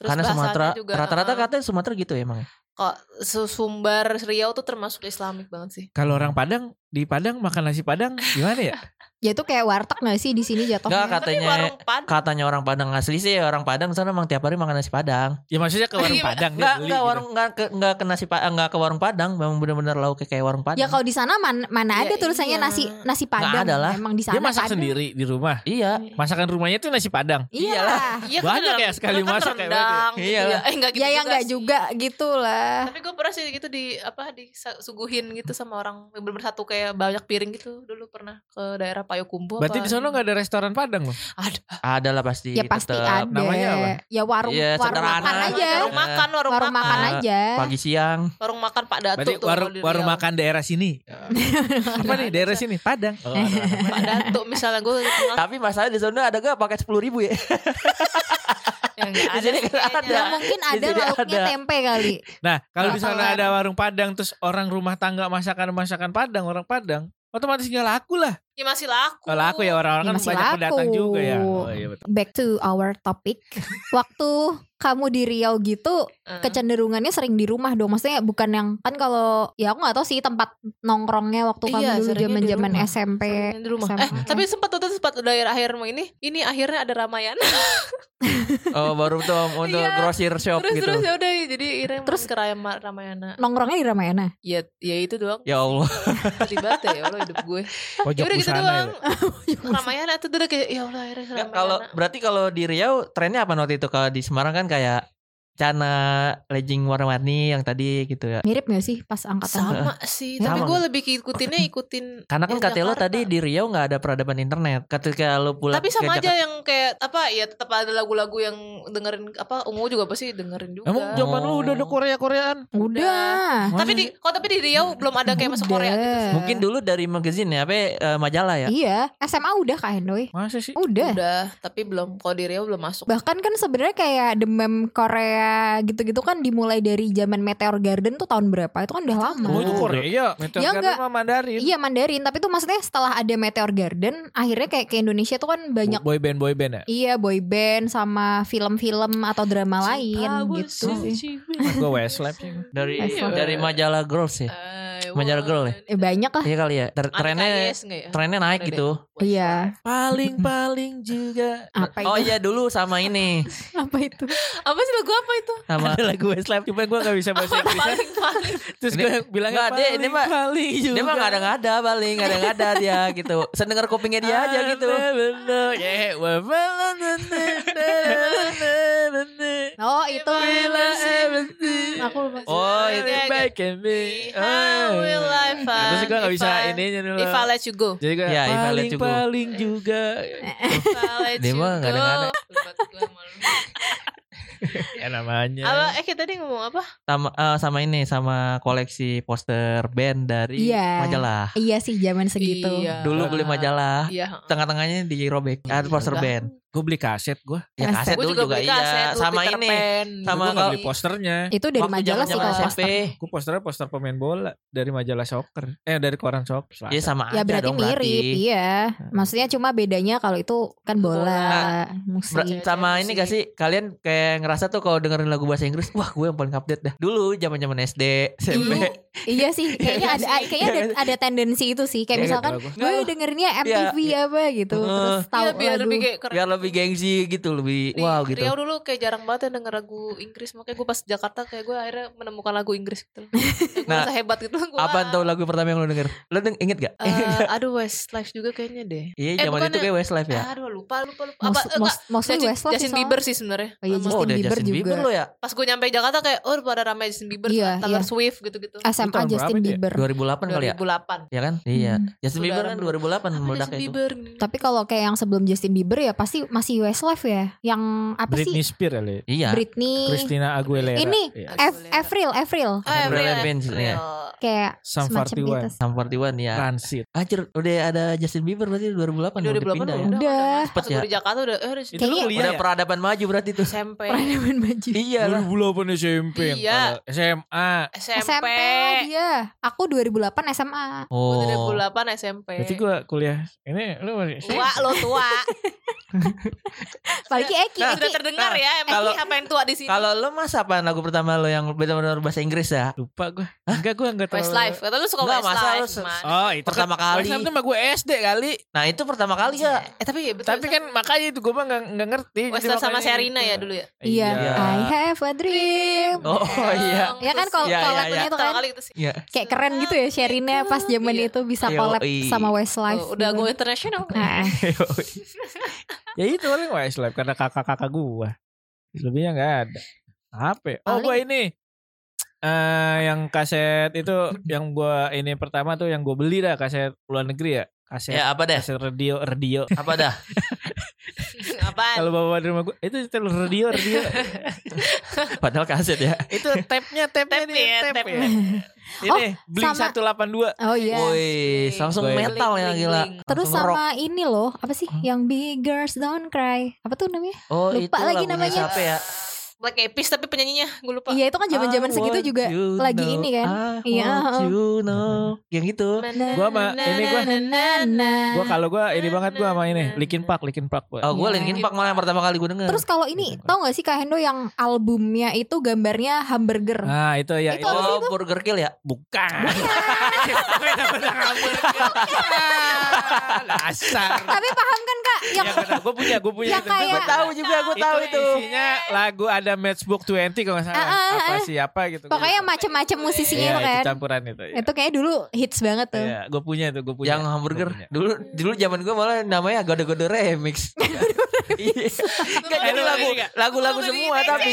D: Terus
C: Karena
D: bahasanya
C: Sumatera
D: juga,
C: rata-rata
D: eh,
C: katanya Sumatera gitu ya emang. ya?
D: kok Su- Sumbar Riau tuh termasuk Islamik banget sih.
B: Kalau orang Padang di Padang makan nasi Padang gimana ya?
A: Ya itu kayak warteg gak sih di sini
C: Nggak,
A: jatuhnya?
C: Kak. Katanya-
D: Tapi warung pad
C: Katanya orang Padang asli sih orang Padang sana emang tiap hari makan nasi Padang.
B: Ya maksudnya ke warung
D: Iya,
B: Padang dia
C: Enggak,
B: beli.
C: enggak
B: gitu.
C: warung enggak ke, enggak ke nasi Pa- enggak ke warung Padang, memang benar-benar lauknya kayak warung Padang.
A: Ya kalau di sana man- mana
D: Ya,
A: ada tulisannya
D: iya.
A: nasi nasi padang.
C: ada lah.
A: Emang di sana
B: Dia masak
A: ada.
B: sendiri di rumah.
C: Iya.
B: Masakan rumahnya tuh nasi Padang.
A: Iya.
D: Iya,
B: Banyak
D: dalam-
B: ya Iya. sekali
D: kan
B: masak kayak
D: rendang
C: gitu ya.
D: gitu ya.
C: Iyalah.
D: Eh enggak gitu
A: ya yang enggak
D: sih.
A: juga gitu lah.
D: Tapi gue pernah sih gitu di apa disuguhin gitu sama orang yang bener-bener satu kayak banyak piring gitu dulu pernah ke daerah Payokumbu
B: Berarti
D: apa
B: di sana nggak ada restoran Padang loh.
D: ada
C: Ada lah pasti.
A: Ya pasti
C: tetep.
A: ada.
B: Iya, Namanya apa?
A: Ya warung
C: Iya,
A: warung
C: sederhana.
A: makan aja.
D: warung makan warung,
A: Warung
D: makan,
A: makan aja.
C: Pagi siang.
D: warung makan Pak Datu
B: Berarti
D: tuh
B: warung
D: kalau di
B: warung
D: Riau.
B: makan daerah sini. Apa nih daerah sini? Padang. Oh, ada, ada.
D: Pak Datu misalnya gue kenal
C: Tapi masalahnya di sana ada gak pakai sepuluh ribu ya?
D: yang ya nggak
C: Di sini
D: sih
C: kan
D: kayaknya.
A: Ya mungkin
B: Iya,
A: ada
C: sini
A: lauknya
C: ada.
A: tempe kali.
B: Nah, kalau di
A: Nggak
B: sana
A: tahu.
B: ada warung Padang terus orang rumah tangga masakan-masakan Padang, orang Padang, otomatis nggak laku lah.
D: Ya masih laku
B: Kalau laku
A: Ya,
B: ya orang-orang kan
A: masih
B: banyak
A: laku.
B: pendatang juga ya. Oh iya betul.
A: Back to our topic. Waktu kamu di Riau gitu,
D: Eh.
A: kecenderungannya sering di rumah dong. Maksudnya bukan yang kan kalau ya aku nggak tahu sih tempat nongkrongnya waktu kamu
D: Iya,
A: dulu
D: seringnya di
A: zaman-zaman
D: rumah.
A: SMP.
D: Yang di rumah.
A: Sama.
D: Eh, tapi sempat tuh tuh sempat daerah akhirmu ini, ini akhirnya ada Ramayana.
C: Oh baru tuh untuk
D: Iya.
C: grosir shop
D: terus
C: gitu.
D: terus ya udah jadi akhirnya terus
A: Terus-
D: ke Rama- Ramayana.
A: Nongkrongnya di Ramayana.
D: Ya ya itu doang.
C: Ya Allah.
D: Terlibat ya Allah hidup gue. Ya
B: Pojok
D: udah gitu
B: busana ya.
D: doang. Ramayana tuh udah kayak ya Allah akhirnya Ramayana.
C: Kalau berarti kalau di Riau trennya apa waktu itu? Kalau di Semarang kan kayak cana legging warna-warni yang tadi gitu ya.
A: Mirip gak sih pas angkatan?
D: sama sih,
C: Sama
D: tapi gue
C: nggak?
D: lebih ikutinnya ikutin
C: Karena kan
D: yang
C: kata lo
D: Jakarta.
C: tadi di Riau nggak ada peradaban internet. Ketika lo pulang
D: tapi
C: ke
D: sama aja
C: Jakarta-
D: yang kayak apa ya tetap ada lagu-lagu yang dengerin apa ungu juga pasti dengerin juga.
B: Emang zaman lu
C: Oh.
B: udah ada Korea-Koreaan?
A: Udah.
D: tapi di kok tapi di Riau belum ada kayak masuk Korea gitu.
A: Udah.
C: Mungkin dulu dari magazine ya, apa eh, majalah ya.
A: Iya, SMA udah Kak Hendoy.
B: Masa sih?
C: Iya.
A: Udah.
D: Udah, tapi belum kalau di Riau belum masuk.
A: Bahkan kan sebenarnya kayak demam Korea Korea gitu-gitu kan dimulai dari zaman Meteor Garden tuh tahun berapa? Itu kan udah lama.
B: Oh, itu Korea.
A: Ya,
B: Meteor Garden
A: enggak.
B: mah Mandarin.
A: Iya Mandarin, tapi tuh maksudnya setelah ada Meteor Garden, akhirnya kayak ke Indonesia tuh kan banyak
B: Boy band boy band ya.
A: iya boy band sama film-film atau drama lain gitu sih.
B: Gue Westlife sih.
C: dari
A: Iya.
C: dari majalah girls ya. Majalah girl ya?
A: Eh, banyak
D: Ah.
A: lah.
C: Iya kali ya. Ter- trennya trennya
D: Ada ya?
C: naik
D: deh.
C: gitu.
A: Iya,
B: Paling paling juga.
A: apa itu?
C: Oh iya dulu sama ini.
A: Apa itu?
D: Apa sih lagu apa itu?
C: Sama
B: Ada lagu Westlife. Cuma gue gak bisa bahasa Inggris.
D: Paling paling.
B: Terus
C: Ini-
B: gue bilang
C: Nggak, dia- ini mah-
B: paling juga.
C: dia mah nggak ada nggak ada paling nggak ada nggak ada dia gitu. Sedengar kupingnya dia aja gitu.
B: Yeah, we're falling in
A: Oh, itu.
B: love.
A: Aku lupa.
C: Oh itu.
D: Iya,
B: back Oh, iya, at me.
D: How will I find
B: Nah, Terus gue gak
D: if
B: bisa
D: I-
B: ininya dulu.
D: If I let you go.
B: Jadi gue
C: Ya, if I let
B: paling
C: you go. Ya.
B: paling juga.
D: If I let
C: Dia
D: you
C: mah nggak ada- nggak ada.
D: go. Tempat gua malu.
C: Iya.
B: Ya namanya.
D: Apa eh kita tadi ngomong apa?
C: Sama eh, sama ini sama koleksi poster band dari
A: Iya.
C: majalah.
A: Iya sih zaman segitu.
D: Iya.
C: Dulu beli majalah.
D: Iya.
C: Tengah-tengahnya dirobek. Ada poster
D: Udah.
C: band.
B: Gue beli kaset gue.
C: Ya kaset
D: Gua
C: dulu juga,
D: beli kaset,
C: iya.
D: dulu
C: Sama
D: Peter
C: ini.
D: Pan.
C: Sama
B: Gue gak
C: kalau-
B: beli posternya.
A: Itu dari
C: Waktu
A: majalah sih
C: zaman-zaman
A: kalau
C: SMP.
D: Iya,
A: poster.
B: Gue posternya poster pemain bola dari majalah soccer. Eh dari koran soccer.
C: Iya sama
A: Ya
C: aja
A: berarti
C: dong
A: mirip,
C: berarti.
A: iya. Maksudnya cuma bedanya kalau itu kan bola,
D: Bola.
A: musik.
C: Ber- sama
D: Iya,
C: ini
D: sih.
C: gak sih kalian kayak ngerasa tuh kalau dengerin lagu bahasa Inggris, wah gue yang paling update dah. Dulu zaman-zaman SD, SMP.
D: Hmm,
A: Iya. Iya sih, kayaknya ada kayaknya ada, ada tendensi itu sih. Kayak
C: Iya,
A: misalkan
B: gua-
A: gue dengerinnya MTV apa gitu,
C: Heeh.
A: terus tahu
D: Iya, biar
A: lagu.
D: lebih kayak keren.
C: Biar lebih gengsi gitu, lebih
D: Di
C: wow gitu.
D: Riau dulu kayak jarang banget ya denger lagu Inggris Makanya gue pas Jakarta kayak gue akhirnya menemukan lagu Inggris gitu loh Kayak Gue
C: Nah,
D: merasa hebat gitu loh gue
C: Apaan tuh lagu pertama yang lo denger? Lo deng inget gak?
D: Eh, Aduh Westlife juga kayaknya deh
C: Iya
D: eh,
C: zaman
D: bukan
C: itu
D: ya.
C: kayak Westlife ya.
D: Aduh lupa lupa lupa
A: Mos,
D: Apa, eh,
A: mos,
D: enggak,
A: mostly
D: Justin,
A: Westlife sih
D: Justin
A: soalnya.
D: Bieber sih sebenarnya
A: Oh iya,
D: Sama-
C: oh
A: Justin
C: udah
A: Bieber
C: Justin
A: juga.
C: Bieber lo ya?
D: Pas gue nyampe Jakarta kayak Oh pada ramai Justin Bieber
A: Iya,
D: Taylor
A: iya.
D: Swift gitu-gitu
A: SMA
B: tahun
A: Justin
B: berapa dia?
A: Bieber.
C: 2008 kali ya?
D: 2008
C: Ya kan? Iya.
A: Hmm.
C: Justin
D: Udah
C: Bieber kan
D: ada-
C: 2008
D: Apa
C: meledaknya
D: Justin
C: itu.
D: Bieber
A: Tapi kalau kayak yang sebelum Justin Bieber ya pasti masih Westlife ya. Yang apa
B: Britney
A: sih?
B: Spears kali.
C: Iya.
A: Britney.
B: Christina Aguilera.
A: Ini.
B: Iya.
A: F Avril, Avril.
D: Oh, Avril,
C: Avril Lavigne,
D: Avril.
C: iya.
A: Kayak
B: Sam
A: semacam itu.
B: 41.
A: sih.
C: Sam 41 ya.
B: Transit.
C: Anjir, udah ada Justin Bieber berarti 2008 udah
D: 2008 udah
C: pindah ya.
A: udah.
C: Cepet
D: Pas
C: ya.
D: gue di Jakarta udah eh, udah
B: Itu lu
A: Kayaknya-
B: kuliah
C: Udah
B: ya?
C: peradaban maju berarti tuh.
D: SMP
A: Peradaban baju.
C: Iya lah.
B: 2008 SMP.
D: Iya.
B: Kalau SMA.
A: SMP
D: SMP
A: lah dia. Aku 2008 SMA.
D: Gua
C: Oh.
D: 2008 SMP
B: Berarti gue kuliah. Ini lu masih
D: Tua lo tua
A: Apalagi Eki.
C: Nah,
A: Eki.
D: Sudah terdengar ya Emang
C: kalau-
D: ini apa yang tua di sini
C: Kalau lo mas apaan lagu pertama lo yang benar-benar bahasa Inggris ya?
B: lupa gue. Enggak gue enggak tahu.
D: Westlife Kata lu suka
C: Enggak, masa
D: Westlife
C: lu se-
D: Mas.
B: Oh itu
C: Pertama kali.
B: Westlife tuh mah gue SD kali.
C: Nah itu pertama kali
A: Iya.
C: ya.
D: Eh tapi betul
B: Tapi kan makanya itu gue mah enggak, enggak ngerti. Jadi
D: Westlife sama
B: makanya
D: Sherina
B: gitu.
D: ya dulu ya
A: Iya.
C: Iya.
A: I have a dream.
C: Oh, iya.
A: Ya kan kalau
C: Iya,
A: kalau
C: iya,
A: lagunya
C: iya.
A: itu kan
D: kali itu sih
C: Iya.
A: kayak keren gitu ya Sherina pas zaman
D: Iya.
A: itu bisa
C: Yoi.
A: collab sama Westlife.
D: Oh, Udah
A: gitu.
D: gue international
A: Nah,
B: Ya itu paling Westlife karena kakak-kakak gue. Lebihnya enggak ada. Apa? ya? Oh
A: Paling-
B: gue ini. eh yang kaset itu yang gue ini pertama tuh yang gue beli dah kaset luar negeri ya kaset
C: Ya apa dah?
B: kaset radio radio
C: Apa dah?
D: Apaan?
B: kalau bawa dari rumah gue itu setel radio radio
C: Padahal kaset ya.
B: itu tapnya tapnya
D: Tap ya, tap ya.
B: ini beli
A: sama-
B: satu delapan dua
A: oh iya.
C: Woi, langsung
B: Woi.
C: metal ya
D: Bling,
C: gila.
D: bling.
A: Terus
C: Langsung rock.
A: sama ini loh, apa sih yang Big Girls Don't Cry? Apa tuh namanya?
C: Oh,
A: Lupa
C: itu
A: lagi
C: lagunya
A: namanya.
C: Siapa ya?
D: Black Eyed Peas tapi penyanyinya gue lupa.
A: Iya, itu kan
D: ah,
A: zaman-zaman
C: I
A: segitu
C: want
A: juga
C: you
A: lagi
C: know,
A: ini kan.
C: I
A: Iya,
C: want
A: heeh.
C: you know. Yang gitu. itu.
D: Nah,
B: Gua sama- ini gua- Gua kan kalau gua ini banget gua sama ini, Likin Park, Likin Park gua.
C: Oh, gue
A: Iya.
C: Linkin Park malah yang pertama kali gue denger.
A: Terus kalau ini, tau gak sih Kak Hendo yang albumnya itu gambarnya hamburger?
B: Nah, itu ya
A: Itu
B: itu
A: apa sih?
C: Oh, Burger Kill ya?
B: bukan.
A: Iya,
B: Dasar.
A: Tapi paham kan Kak?
D: Iya,
A: Yang
B: Ya kata gua punya, gua punya
A: Yang kayak-
C: Gue tahu juga, gue tahu itu.
B: Isinya lagu ada Matchbook 20 kalau enggak salah.
A: Ah, ah,
B: Apa
A: ah.
B: sih apa gitu. gua
A: pokoknya
B: lupa.
A: macem-macem musisinya
B: Iya,
A: itu kan.
B: itu campuran itu. ya.
A: Itu kayaknya dulu hits banget tuh.
B: Iya, gua punya itu, gua punya.
C: yang hamburger
B: Gua punya.
C: dulu dulu zaman gue malah namanya gado-gado remix. Iya. Nggak,
D: Lu
C: jadi
B: mau
C: lagu
B: ini nggak?
C: lagu-lagu semua tapi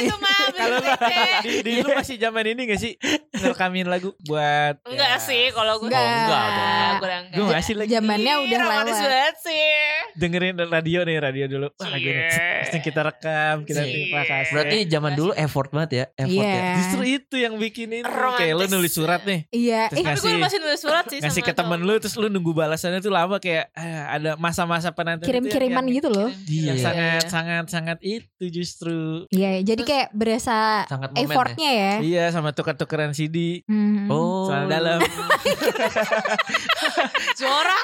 B: Kalau di, di lu masih zaman ini gak sih ngerekamin lagu buat
D: Enggak
B: ya,
D: sih kalau gue.
A: Enggak.
C: Oh, enggak dong.
D: Gue udah
B: Gue
D: enggak.
B: masih lagi
A: Zamannya
D: Ih,
A: udah
D: Iya, romantis
A: lewat.
D: banget sih.
B: dengerin radio nih radio dulu. Wah, lagu ini. Terus kita rekam, kita
C: Cie.
B: terima kasih.
C: berarti zaman
B: eh,
C: dulu effort banget ya, effort
A: Iya.
C: ya.
B: Justru itu yang bikin ini kayak lu
D: Romantis.
B: nulis surat nih.
A: Iya,
D: Tapi
A: eh,
B: Terus
D: gue
B: ngasih
D: masih nulis surat sih
B: ngasih
D: sama
B: ke temen lu terus lu nunggu balasannya tuh lama kayak ah, ada "Eh, masa-masa penantian.
A: kirim-kiriman gitu loh.
C: Iya, Iya.
B: sangat
D: Iya.
B: sangat sangat itu justru
A: Iya, jadi
D: Terus-
A: kayak berasa
C: Sangat momen ya.
A: effortnya ya.
B: iya sama tukar-tukaran CD
A: Hmm.
C: Oh.
B: celana dalam
D: Jorah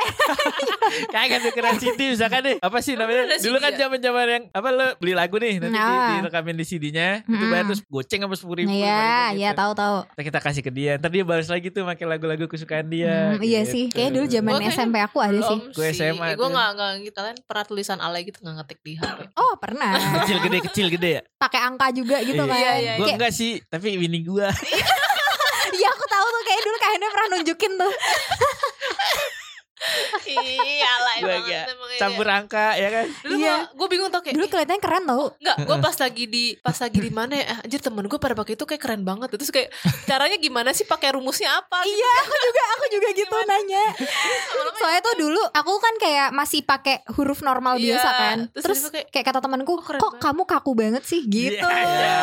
B: kagak tukeran CD misalkan deh apa sih namanya
D: Ada
B: dulu
D: CD
B: kan
D: ya?
B: zaman zaman yang apa lo beli lagu nih nanti di,
A: Nah.
B: direkamin di CD-nya itu
A: Mm-mm.
B: bayar terus goceng apa sepuluh ribu
A: Iya, iya
B: gitu.
A: tahu tahu.
B: Ntar kita kasih ke dia ntar dia balas lagi tuh pakai lagu-lagu kesukaan dia
A: Hmm, iya sih,
B: gitu.
A: kayaknya dulu zaman ya.
D: Gua kayaknya
A: SMP aku ada sih.
D: belum
B: Gue
D: sih.
B: SMA
D: Gue
B: tuh.
D: gak, gak gitu kan pernah tulisan alay gitu gak ngetik di HP.
A: Oh pernah,
B: kecil gede kecil gede ya
A: pakai angka juga gitu
B: Iya.
A: kan.
D: Iya, iya,
A: Kayak-
B: gue enggak sih tapi ini gue
A: Iya aku tahu tuh kayak dulu kayaknya pernah nunjukin tuh.
D: Iya alay
B: Gua
D: banget
B: agak
D: emang ini.
B: campur angka ya kan
D: Dulu
A: Iya.
D: gue bingung tau kayak
A: Dulu kelihatannya keren tau.
D: Enggak, gue pas lagi di pas lagi di mana ya? Anjir temen gue pada pakai itu kayak keren banget. Terus kayak caranya gimana sih pakai rumusnya apa? gitu?
A: Iya, aku juga aku juga
D: Iya,
A: gitu nanya. Soalnya tuh dulu aku kan kayak masih pakai huruf normal
D: gitu. Iya,
A: biasa kan.
D: terus
A: Terus,
D: tiba-tiba kayak, "Oh,
A: kayak kata temanku,
D: keren
A: "Kok
D: banget."
A: kamu kaku banget sih?" gitu.
B: Iya,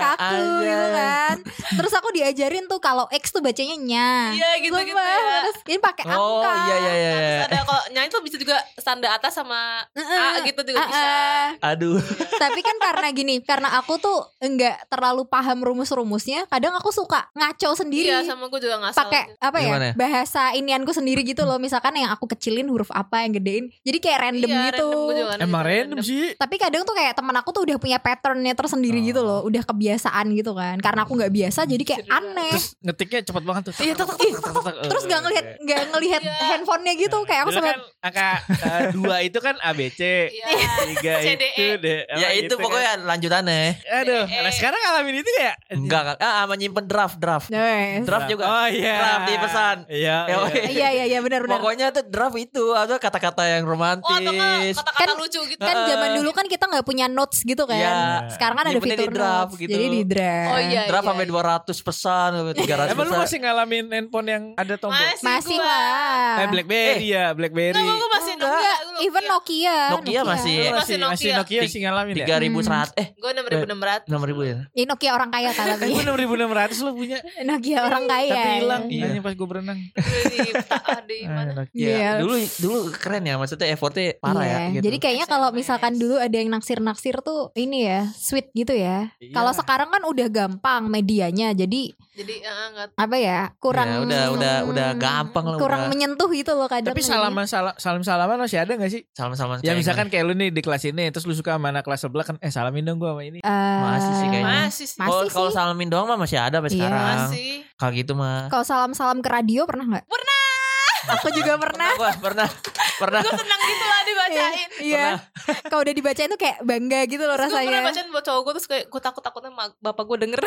A: kaku gitu
B: anjay.
A: kan. Terus aku diajarin tuh kalau X tuh bacanya nya.
D: Iya, gitu-gitu
A: Sumpah,
D: ya.
A: terus ini pakai angka.
C: Oh iya iya iya.
D: Terus
C: iya.
D: ada kalau nyanyi tuh bisa juga tanda atas sama
A: Heeh.
D: A gitu juga
A: Ah,
D: bisa.
A: ah.
C: Eh, Aduh.
A: Tapi kan karena gini, karena aku tuh enggak terlalu paham rumus-rumusnya, kadang aku suka ngaco sendiri.
D: Iya, sama gue juga ngasal.
A: pakai apa ya
C: Gimana ya?
A: bahasa inianku sendiri gitu loh misalkan yang aku kecilin huruf apa yang gedein jadi kayak random
D: Iya,
A: gitu
D: random, gua juga kadang
B: emang
D: gitu,
B: random sih
A: tapi kadang tuh kayak temen aku tuh udah punya patternnya tersendiri
B: Oh.
A: gitu loh udah kebiasaan gitu kan karena aku nggak biasa jadi kayak
D: Seru
A: aneh
B: terus ngetiknya cepet banget tuh
D: Iya, tek, tek,
A: Ih, terus
C: eh,
A: nggak ngelihat nggak ngelihat
D: Iya.
A: handphonenya gitu
C: Nah,
A: kayak aku
B: Dulu
A: sampai
B: kan angka eh, dua itu kan ABC
D: Iya.
B: tiga
D: CDE.
B: itu deh
C: Ya itu
B: kan.
C: pokoknya
B: Iya.
C: lanjutannya.
B: aduh
D: CDE.
B: nah sekarang ngalamin itu ya
C: Enggak, ah sama nyimpen draft, draft.
A: Yes.
C: Draft juga.
B: oh iya
C: Draft di pesan.
B: iya
C: Ya,
B: iya.
A: iya iya iya benar benar
C: Pokoknya tuh draft itu atau kata-kata yang romantis.
D: Oh, atau nggak kata-kata
A: Kan-
D: lucu gitu.
A: kan zaman dulu kan kita nggak punya notes gitu kan
C: eh. Iya.
A: sekarang kan ada
C: Nyimpennya
A: fitur
C: di draft
A: notes
C: gitu.
A: jadi di draft
D: Oh iya.
C: draft
D: iya,
C: sampai
D: iya.
C: 200 pesan, 300
B: Emang lu
C: pesan.
B: masih ngalamin handphone yang ada tombol?
D: Masih,
A: masih
D: gua.
A: lah
B: Eh Blackberry ya, Blackberry.
D: Enggak, gue masih
C: Enggak.
D: Nokia. gua
A: even Nokia
C: Nokia masih
B: Lu
D: masih
B: masih masih
D: Nokia.
B: Nokia sih ngalamin ya?
C: 3100 eh
D: Gue enam ribu enam ratus.
C: 6000 ya.
A: Ini Nokia orang kaya kan
B: Gue
A: tapi
B: 6600 lu punya
A: Nokia orang kaya.
B: tapi hilang.
C: Iya.
B: Hanya pas gue berenang.
D: Di
B: Ah,
D: mana?
B: Nokia.
A: Iya.
C: Dulu dulu keren ya maksudnya effortnya parah
A: Iya,
C: ya gitu.
A: Jadi kayaknya kalau
D: SMS.
A: misalkan dulu ada yang naksir-naksir tuh ini ya, sweet gitu ya.
B: Iya.
A: Kalau sekarang kan udah gampang medianya, jadi
D: Jadi eh, nggak
A: apa ya kurang hmm,
C: Ya, udah- udah- udah gampang lah,
A: Kurang
C: udah.
A: menyentuh gitu loh kadang.
B: Tapi
A: ini.
B: salaman sala- salam salaman masih ada gak sih?
C: Salam-salam
B: Ya
C: kayak
B: misalkan kayak lu nih di kelas ini terus lu suka sama anak kelas sebelah kan eh salamin dong gue sama ini.
A: Eh,
C: Masih sih kayaknya.
D: masih sih.
A: Masih
C: Oh, kalau
A: sih.
C: salamin doang mah masih ada sampai
A: Iya.
C: sekarang.
D: Masih.
C: Kalau gitu mah.
A: Kalau salam-salam ke radio pernah nggak? Pernah. Aku juga pernah.
C: Wah, pernah pernah.
D: Gue senang gitu lah dibacain.
A: Iya. Kalau udah dibacain tuh kayak bangga gitu loh
D: Gue pernah
A: rasanya. Iya,
D: bacain buat cowok gue terus kayak gue takut takutnya ma- bapak gue denger.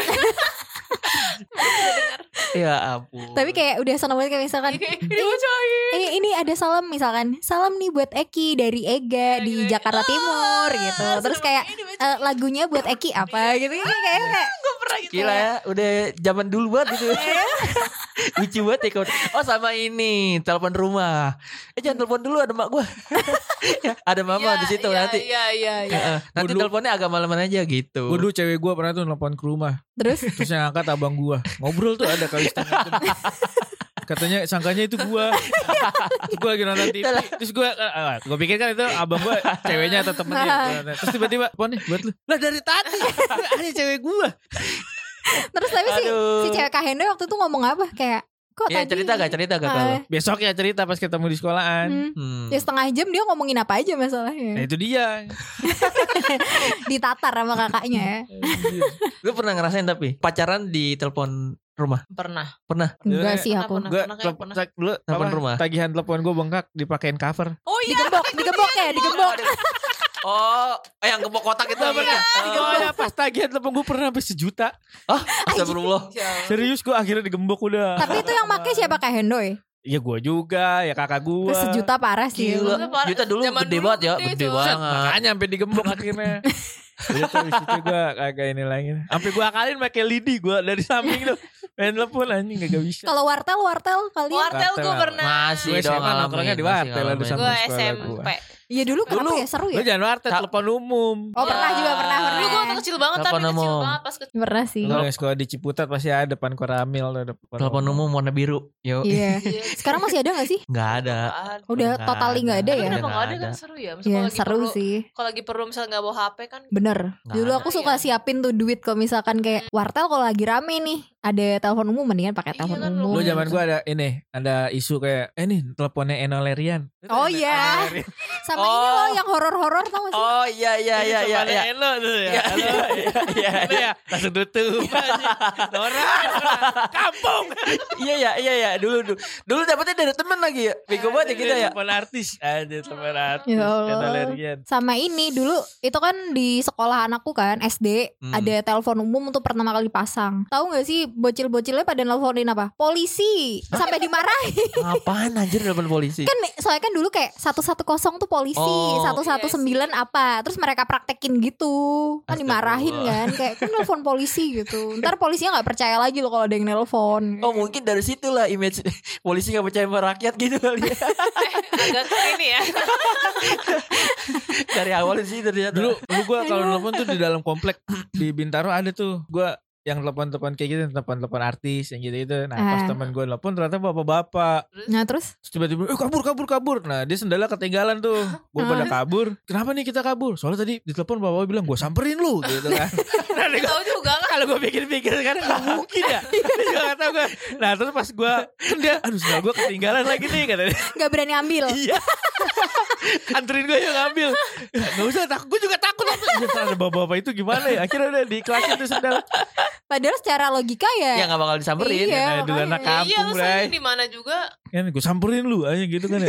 C: ya ampun.
A: Tapi kayak udah seneng banget kayak misalkan
D: Dibacain.
A: Eh, ini ada salam misalkan salam nih buat Eki dari Ega di
D: Dari-
A: Jakarta
D: Ah,
A: Timur gitu terus
D: seneng
A: kayak
D: banget, ini dibacain.
A: eh, lagunya buat Eki apa gitu Ini kayak kayak
D: Gue pernah gitu.
C: Gila ya, udah zaman dulu banget gitu.
A: Iya.
C: Lucu banget ya kawan. Oh sama ini, telepon rumah. Eh jangan telepon dulu ada mak gua. Ya, ada mama
D: Iya,
C: di situ
D: iya,
C: nanti.
D: Iya iya iya.
C: Heeh, nanti
B: Gua dulu-
C: teleponnya agak malaman aja gitu.
B: Gue dulu cewek gue pernah tuh nelfon ke rumah
A: terus
B: terus yang angkat abang gue ngobrol tuh ada kali setengah jam. Katanya sangkanya itu gue Gue lagi nonton TV Terus gue Gue pikir kan itu abang gue Ceweknya atau temennya Terus tiba-tiba Pon nih buat lu Lah dari tadi Ada cewek gue
A: terus tapi si
C: Aduh.
A: si cewek Kahenda waktu itu ngomong apa kayak kok
C: Iya
A: tadi
C: cerita gak cerita gak
A: Ah,
C: kalau.
B: Besok ya cerita pas ketemu di sekolahan
A: hmm.
C: Hmm.
A: Ya setengah jam dia ngomongin apa aja
B: Nah
A: masalahnya
B: itu dia
A: Ditatar sama kakaknya ya
C: Lu pernah ngerasain tapi pacaran di telepon rumah?
D: Pernah.
A: Enggak sih
D: Kenapa,
A: aku
D: Nah,
B: Gue
D: pernah kayak pernah.
B: dulu
C: Telepon
B: apa,
C: rumah.
B: Tagihan telepon gue bengkak Dipakein cover
D: Oh iya.
A: Digembok, digembok ya, digembok
C: Oh, eh, yang gembok kotak itu apa ya?
B: Oh ya pas tagihan telepon gue pernah sampai sejuta
C: Ah, astagfirullah.
D: Iya.
B: Serius gue akhirnya digembok udah
A: Tapi itu yang make siapa Kahendo ya?
B: Ya gue juga Ya kakak gue
A: Sejuta parah sih
C: Gila.
D: Gila, parah.
C: Juta dulu
D: Zaman
C: gede
D: dulu
C: banget ya,
D: gede,
C: gede
D: coy.
C: banget.
B: Makanya sampai digembok akhirnya. Udah Iya, tuh abis itu gue kagak ini lagi. Sampai gue akalin pakai lidi gue dari samping tuh. Main telepon anjing kagak bisa. Iya
A: Kalau wartel, wartel kalian
D: Wartel gue
B: Wartel.
D: pernah.
C: Masih
B: Gue
C: dong
B: SMA nongkrongnya di
C: ngalamin,
B: wartel
C: masih
D: Gue
B: ada sama sekolah
D: SMP.
B: gua.
A: Ya dulu kenapa
B: Dulu-
A: ya seru
B: Lu
A: ya?
B: jangan warteg
C: Ta-
B: telepon umum.
A: Oh pernah juga, pernah,
C: Iya.
A: pernah
D: Dulu gue waktu kecil banget tapi
C: Telepon
D: kecil
C: umum.
D: banget pas kecil.
A: Pernah sih.
B: Kalau yang sekolah di Ciputat pasti ada depan koramil tuh, depan
C: Telepon umum warna biru. Yo.
A: Iya. Sekarang masih ada gak sih?
C: Enggak ada.
A: Udah
C: Nggak
A: totally nggak ada
D: Tapi
A: ya?
D: kenapa
C: Udah nggak
D: nggak ada
C: ada.
D: kan seru ya? Maksudnya
A: Iya
D: kalau lagi
A: seru
D: perlu-
A: sih.
D: Kalau lagi perlu misalnya nggak bawa HP kan
A: Bener.
C: Nggak
A: Dulu
C: ada.
A: aku suka
D: Iya.
A: siapin tuh duit kalau misalkan kayak wartel kalau lagi rame nih ada telepon umum mendingan pakai
D: Iya
A: telepon
D: kan,
A: umum.
B: Lu zaman gua ada ini, ada isu kayak eh nih teleponnya Enolerian.
A: Oh iya. Sama ini
C: Oh.
A: loh yang horor-horor tau gak sih?
C: Oh iya iya iya iya. iya.
B: Eno tuh ya.
C: Iya,
B: Halo,
C: iya, iya,
B: Halo
C: iya.
B: ya. Langsung tutup. Nora, kampung.
C: Iya iya iya iya dulu dulu. Dulu dapetnya dari temen lagi ya. Bego banget ya kita ya.
B: Telepon artis. Ada telepon artis.
A: Ya Allah.
B: Enolerian.
A: Sama ini dulu itu kan di sekolah anakku kan SD
C: Hmm.
A: ada telepon umum untuk pertama kali pasang. Tahu nggak sih bocil-bocilnya pada nelponin apa? Polisi sampai dimarahin.
C: Apaan anjir telepon polisi?
A: kan soalnya kan dulu kayak 110 tuh polisi,
C: Oh.
A: 119 apa. Terus mereka praktekin gitu. Kan
C: Astagfirullah.
A: dimarahin kan kayak kan nelpon polisi gitu. Ntar polisinya nggak percaya lagi loh kalau ada yang nelpon.
C: Oh mungkin dari situlah image polisi nggak percaya sama rakyat gitu kali ya.
D: agak ke ini ya.
C: Dari awal sih dari
B: Dulu, dulu gue kalau nelpon tuh di dalam komplek di Bintaro ada tuh. Gue yang telepon-telepon kayak gitu, telepon-telepon artis yang gitu-gitu. Nah pas
A: Ah.
B: temen gue nelpon ternyata bapak-bapak.
A: Nah, terus
B: Terus tiba-tiba, eh kabur, kabur, kabur. Nah dia sendalnya ketinggalan tuh. Gue
A: Ah.
B: pada kabur. Kenapa nih kita kabur? Soalnya tadi di telepon bapak bilang, gue samperin lu gitu kan.
D: Tahu juga lah.
B: Kalau gue pikir-pikir kan gak mungkin ya.
A: Iya.
B: Dia juga gak tau gue. Nah terus pas gue, kan dia, aduh sendal gue ketinggalan lagi nih katanya.
A: nggak berani ambil.
B: Iya. Anterin gue yang ngambil. Ya, Gak usah takut. Gue juga takut. Ya, ada bapak-bapak itu gimana ya. Akhirnya udah diklasin tuh sendal.
A: Padahal secara logika
C: ya
A: ya.
C: nggak bakal disamperin.
A: Iya,
B: Nah, dulu
A: makanya.
B: anak
D: Ya, Eh, iya
B: kampung
D: lu
B: Bray.
D: sering di mana juga.
B: Kan gue samperin lu aja gitu kan ya.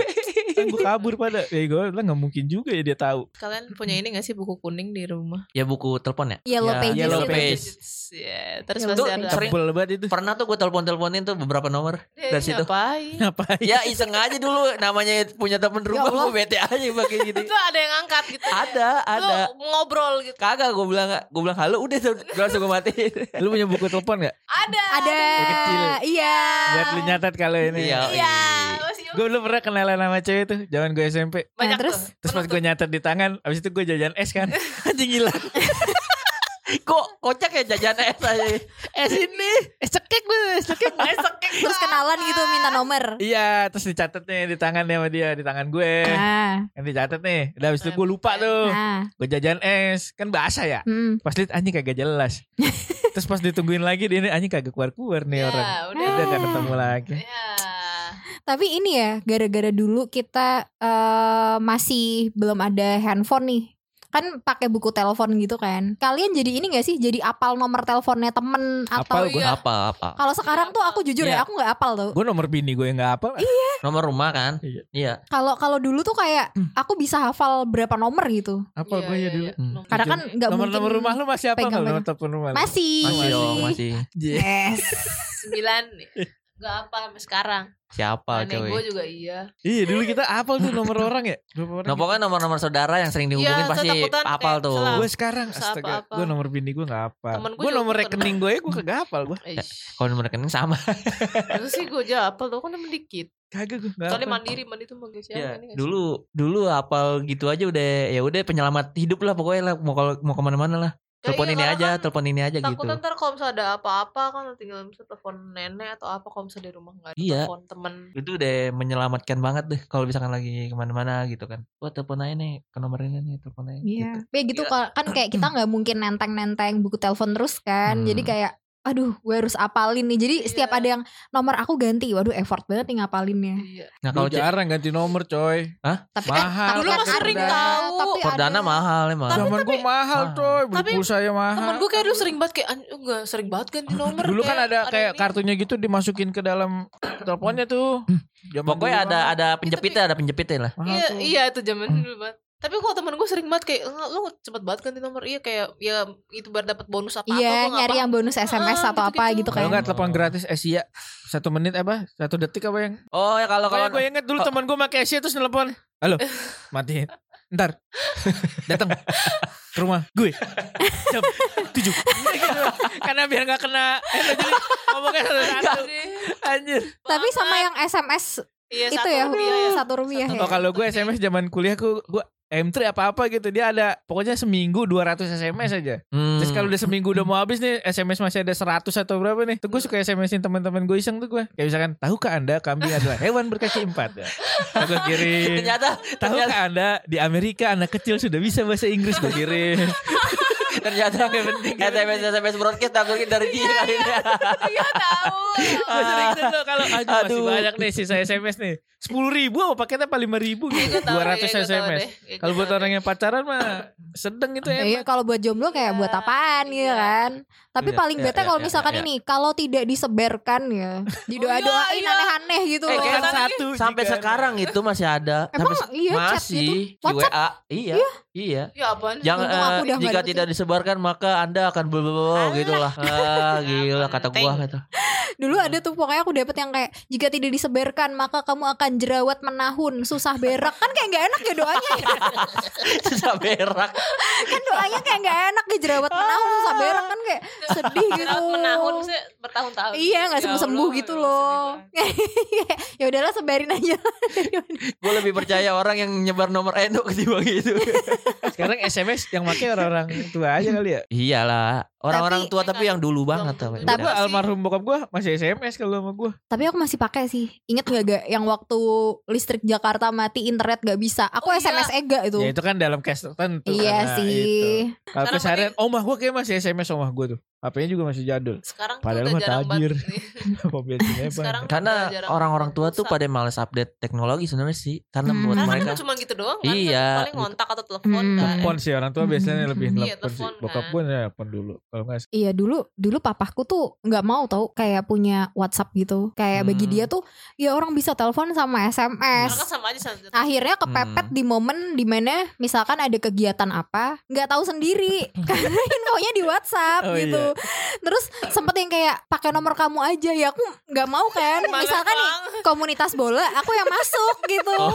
B: Kan gue kabur pada. Ya gue bilang gak mungkin juga ya dia tahu.
D: Kalian punya ini gak sih buku kuning di rumah?
C: Ya buku telepon ya.
A: Yellow
C: Ya,
A: pages gitu.
C: Yellow
A: itu.
C: pages.
D: Ya, terus
A: Yellow
D: pasti
A: pages.
D: ada.
C: Sering-
B: Tebel banget itu.
C: Pernah tuh gue telepon-teleponin tuh beberapa nomor
D: Eh,
C: dari situ.
D: Ngapain?
B: Ngapain?
C: Ya iseng aja dulu namanya punya temen rumah
A: Allah.
C: gue bete aja pakai gini.
D: Ya Itu ada yang angkat gitu. ya.
C: ada, ada.
D: Lu ngobrol gitu.
C: Kagak gue bilang gue bilang halo udah ter- langsung gue matiin.
B: Lu punya buku telepon gak?
D: Ada.
A: Ada.
B: Yang kecil.
A: Iya.
B: Buat lu nyatet kalau ini.
C: Iya.
D: Iya. masih
B: Gue dulu pernah kenalan sama cewek tuh. Zaman gue SMP.
A: Nah, terus?
D: tuh.
B: Terus pas gue nyatet di tangan, abis itu gue jajan es kan. Anjing hilang.
C: Kok kocak ya jajan es aja.
D: Iya.
B: Es ini, es cekek gue, es cekek.
D: Eh, sekek
A: Terus kenalan gitu minta nomor.
B: Iya, terus dicatat nih di tangan dia sama dia, di tangan gue.
A: Nah,
B: Kan dicatat nih. Udah abis itu gue lupa tuh.
A: nah.
B: Gue jajan es, kan bahasa ya.
A: Hmm.
B: Pas liat anjing kagak jelas. terus pas ditungguin lagi dia ini anjing kagak keluar-keluar nih
D: Ya,
B: orang.
D: udah.
B: Udah gak ketemu lagi.
D: Ya.
A: Tapi ini ya, gara-gara dulu kita eh, masih belum ada handphone nih. Kan pakai buku telepon gitu kan. Kalian jadi ini gak sih? Jadi apal nomor teleponnya temen atau
B: Apal gue.
D: Iya.
C: Apa apa.
A: Kalau sekarang tuh aku jujur
B: Iya.
A: ya, aku nggak apal tuh.
B: Gue nomor bini gue yang gak apa.
C: Nomor rumah kan?
B: Iya.
C: Iya.
A: Kalau kalau dulu tuh kayak
B: Hmm.
A: aku bisa hafal berapa nomor gitu.
D: Iya,
B: Apa gue ya
D: iya,
B: dulu.
D: iya.
C: Hmm.
D: Nomor-
A: Karena kan nggak mungkin.
B: Nomor-nomor rumah oh, lu masih apa?
A: pegang
B: Kalau nomor telepon rumah lu. Iya.
A: Masih.
D: Iya
C: Masih dong masih.
A: Yes.
D: Sembilan. Gak apa sampai sekarang.
C: Siapa
D: Aneh gue
C: cewek?
D: juga iya.
B: Iya dulu kita apal tuh nomor orang ya? Berapa orang?
C: Nah pokoknya nomor-nomor saudara yang sering dihubungin
D: gitu. Iya,
C: pasti
D: ketakutan kayak
C: apal tuh.
D: salah.
B: Gue sekarang
D: Terus
B: astaga,
D: apa-apa.
B: gue nomor bini gue gak apa.
D: Temen gue
B: Gue
D: juga gitu.
B: nomor
D: pernah.
B: rekening gue gue kagak hafal gue.
D: Eish.
C: Ya, Kalau nomor rekening sama.
D: Terus sih gue jawab, lo kan emang dikit.
B: Kagak gue gak
D: Soalnya
B: hafal.
D: mandiri, mandiri tuh manggil siapa
C: Ya,
D: ini nggak sih?
C: dulu dulu apal gitu aja udah ya udah penyelamat hidup lah pokoknya lah mau kalau mau kemana-mana lah.
D: Ya
C: Telepon
D: iya,
C: ini
D: karena
C: aja,
D: kan
C: telepon ini aja gitu.
D: Takut ntar kalau misalnya ada apa-apa kan tinggal misalnya telepon nenek atau apa kalau misalnya di rumah nggak ada
C: Iya.
D: telepon temen.
C: Itu udah menyelamatkan banget deh kalau misalkan lagi kemana-mana gitu kan. Wah telepon aja nih ke nomor ini nih telepon aja. gitu.
A: Iya. Ya gitu kalau- kan kayak kita nggak mungkin nenteng-nenteng buku telepon terus kan.
C: Hmm.
A: Jadi kayak aduh gue harus apalin nih. Jadi
D: Iya.
A: setiap ada yang nomor aku ganti. Waduh effort banget nih ngapalinnya.
D: Iya.
C: Nah
B: Lu
C: kalau cewek-
B: jarang ganti nomor coy.
A: Tapi kan
B: Mahal,
A: tapi
D: lu mah sering
A: ada-
D: tahu.
A: tapi ada-
C: Perdana mahal emang.
D: Tapi-
B: Zaman gue mahal
C: Mahal.
B: coy, beli
D: Tapi-
B: pulsa ya
D: Temen
B: mahal.
D: gue kayak dulu sering banget kayak "Anj- enggak sering banget ganti nomor.
B: Dulu kan
D: kayak
B: ada kayak
D: ini. Iya,
B: kartunya gitu dimasukin ke dalam teleponnya tuh.
C: Hmm.
B: Zaman
C: Pokoknya
B: dulu
C: ada
B: mahal.
C: ada penjepitnya, ada penjepitnya lah.
B: Mahal
D: Iya,
B: tuh.
D: iya itu zaman dulu banget. Tapi kok temen gue sering banget kayak "Enggak, lu cepet banget ganti nomor. Iya kayak ya itu baru dapat bonus apa apa.
A: Iya nyari yang bonus SMS
D: Ah,
A: atau apa
D: gitu-gitu.
A: gitu
B: Kalau
A: kan
B: nggak telepon gratis Asia satu menit eh, apa satu detik apa yang?
C: Oh ya kalau
B: Pokoknya
C: kalau
B: gue inget dulu teman gue pakai Asia terus nelpon. Halo, matiin. Ntar datang ke rumah gue jam tujuh. Gitu. Karena biar nggak kena. Eh, lo jadi ngomongnya satu-satu. Anjir.
A: Tapi sama yang SMS
D: Iya,
A: itu
D: satu
A: ya
D: rupiah ya.
A: Satu rupiah
D: Satu
A: ya
B: Oh kalau gue SMS zaman kuliah gue gue M3 apa-apa gitu dia ada pokoknya seminggu 200 SMS aja
C: Hmm.
B: Terus kalau udah seminggu udah mau habis nih SMS masih ada 100 atau berapa nih Tuh gue suka SMS-in teman-teman gue iseng tuh gue Kayak misalkan tahukah anda kambing adalah hewan berkaki empat ya. Terus Gue kirim
C: ternyata ternyata
B: Tahukah anda di Amerika anak kecil sudah bisa bahasa Inggris gue kirim
C: ternyata
B: penting.
C: SMS SMS broadcast takutnya dari dia kali ini.
D: Iya tahu.
B: Gue sering tuh tuh kalau aduh, masih
C: Aduh.
B: banyak nih sisa SMS nih 10 ribu apa paketnya apa 5 ribu gitu
D: Gua tahu deh,
B: 200
D: ya, gua tahu
B: SMS
D: deh. Iya,
B: Kalau
D: gua
B: buat
D: tahu
B: orang yang pacaran mah sedang gitu
A: Ya, iya,
B: ya.
A: kalau buat jomblo kayak buat apaan gitu
D: Iya.
A: kan. Tapi
C: Iya,
A: paling
C: iya,
A: bete
C: iya,
A: kalau
C: iya,
A: misalkan
C: iya.
A: ini kalau tidak disebarkan ya, didoa-doain
D: Oh, iya.
A: aneh-aneh gitu
C: Eh,
A: loh.
C: kayak
B: satu
C: Sampai
B: juga.
C: sekarang itu masih ada.
A: Eh,
C: Sampai
A: kok
C: se-
A: iya chat gitu?
C: masih di
A: WhatsApp?
C: WA. Iya. Iya.
D: Ya apaan?
C: Yang
A: Untung aku
C: eh,
A: udah nggak
C: jika
A: ngerti.
C: tidak disebarkan maka Anda akan bel gitu lah. Ah, gila kata gua gitu. kata.
A: Dulu ada tuh pokoknya aku dapet yang kayak jika tidak disebarkan maka kamu akan jerawat menahun, susah berak. Kan kayak nggak enak ya doanya. ya.
C: Susah berak.
A: kan doanya kayak nggak enak ya jerawat menahun, susah berak kan kayak sedih gitu.
D: Jerawat menahun maksudnya bertahun-tahun.
A: Iya nggak
D: Ya
A: sembuh sembuh
D: Allah,
A: gitu
D: sedih
A: loh.
D: banget.
A: ya udahlah sebarin aja.
C: Gue lebih percaya orang yang nyebar nomor Eno ketimbang gitu.
B: Sekarang SMS yang pakai orang-orang tua aja kali ya.
C: Iyalah, orang-orang
A: Tapi-
C: tua tapi yang dulu banget
D: Belum-
C: tapi.
A: Tapi-
B: Gua almarhum bokap gue masih SMS kalau sama gue.
A: Tapi aku masih pakai sih. Ingat nggak gak yang waktu listrik Jakarta mati internet gak bisa. Aku
D: Oh, iya.
A: SMS Ega E itu.
B: Ya itu kan dalam case tertentu.
A: iya
B: karena
A: sih.
B: itu. Kalau
D: Sekarang
B: keseharian, omah gue kayak masih SMS omah gue tuh. HP-nya juga masih jadul.
D: Sekarang tuh
B: Padahal
D: udah
B: mah
D: jarang
B: tajir.
D: banget. nih.
B: Mobil sini apa?
D: Sekarang tuh
C: Karena
D: udah jarang
C: orang-orang tua tuh
D: rusak.
C: pada males update teknologi sebenarnya sih. Karena
A: Hmm.
C: buat
D: Karena
C: mereka
D: kan cuma gitu doang kan
C: Iya,
D: Paling
C: gitu.
D: ngontak atau telepon
A: Hmm.
D: kan
B: Telepon sih orang tua biasanya lebih
A: Iya,
B: telepon sih.
D: telepon kan.
B: Bokap gue telepon dulu. Kalau nggak
A: Iya dulu dulu papahku tuh nggak mau tau kayak punya WhatsApp gitu. Kayak
C: Hmm.
A: bagi dia tuh ya orang bisa telepon sama
D: Karena kan
A: SMS.
D: sama aja sama-
A: Akhirnya kepepet
C: Hmm.
A: di momen dimana misalkan ada kegiatan apa nggak tahu sendiri karena infonya di WhatsApp
B: Oh,
A: gitu. Terus sempet yang kayak pakai nomor kamu aja ya aku nggak mau kan.
D: Males
A: misalkan nih
D: banget.
A: komunitas bola aku yang masuk gitu.
C: Oh.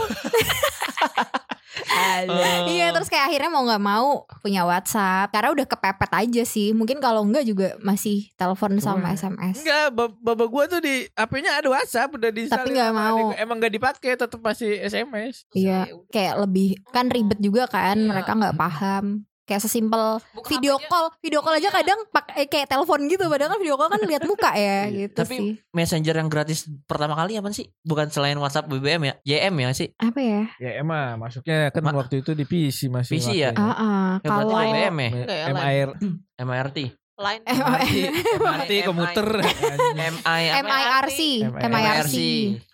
A: Iya terus kayak akhirnya mau nggak mau punya WhatsApp karena udah kepepet aja sih. Mungkin kalau enggak juga masih telepon sama SMS.
B: Enggak, bab- bapak gue tuh di HP-nya ada WhatsApp udah di
A: Tapi nggak mau.
B: Emang nggak dipakai, tetap masih SMS.
A: Iya
D: Ya udah.
A: kayak lebih kan ribet juga kan
D: Iya.
A: mereka nggak paham. Kayak sesimpel
D: Buka
A: video
D: HP-nya.
A: call, video call aja
D: Iya.
A: kadang pakai eh, kayak telepon gitu padahal kan video call kan lihat muka ya
C: Iya.
A: gitu
C: Tapi-
A: sih.
C: messenger yang gratis pertama kali apa sih? Bukan selain WhatsApp BBM ya? YM ya sih?
A: Apa ya?
B: Ya emang masuknya kan
C: Ma-
B: waktu itu di PC masih.
C: PC ya?
A: Heeh,
B: makanya.
C: Ya berarti
A: Ah, kalau
C: BBM ya?
D: Enggak ya,
B: MIR
C: MIRT.
D: Line
A: Eh,
B: MRT, MRT
C: MRT,
B: komuter.
C: MI apa?
A: MIRC, MIRC.
B: MIRC.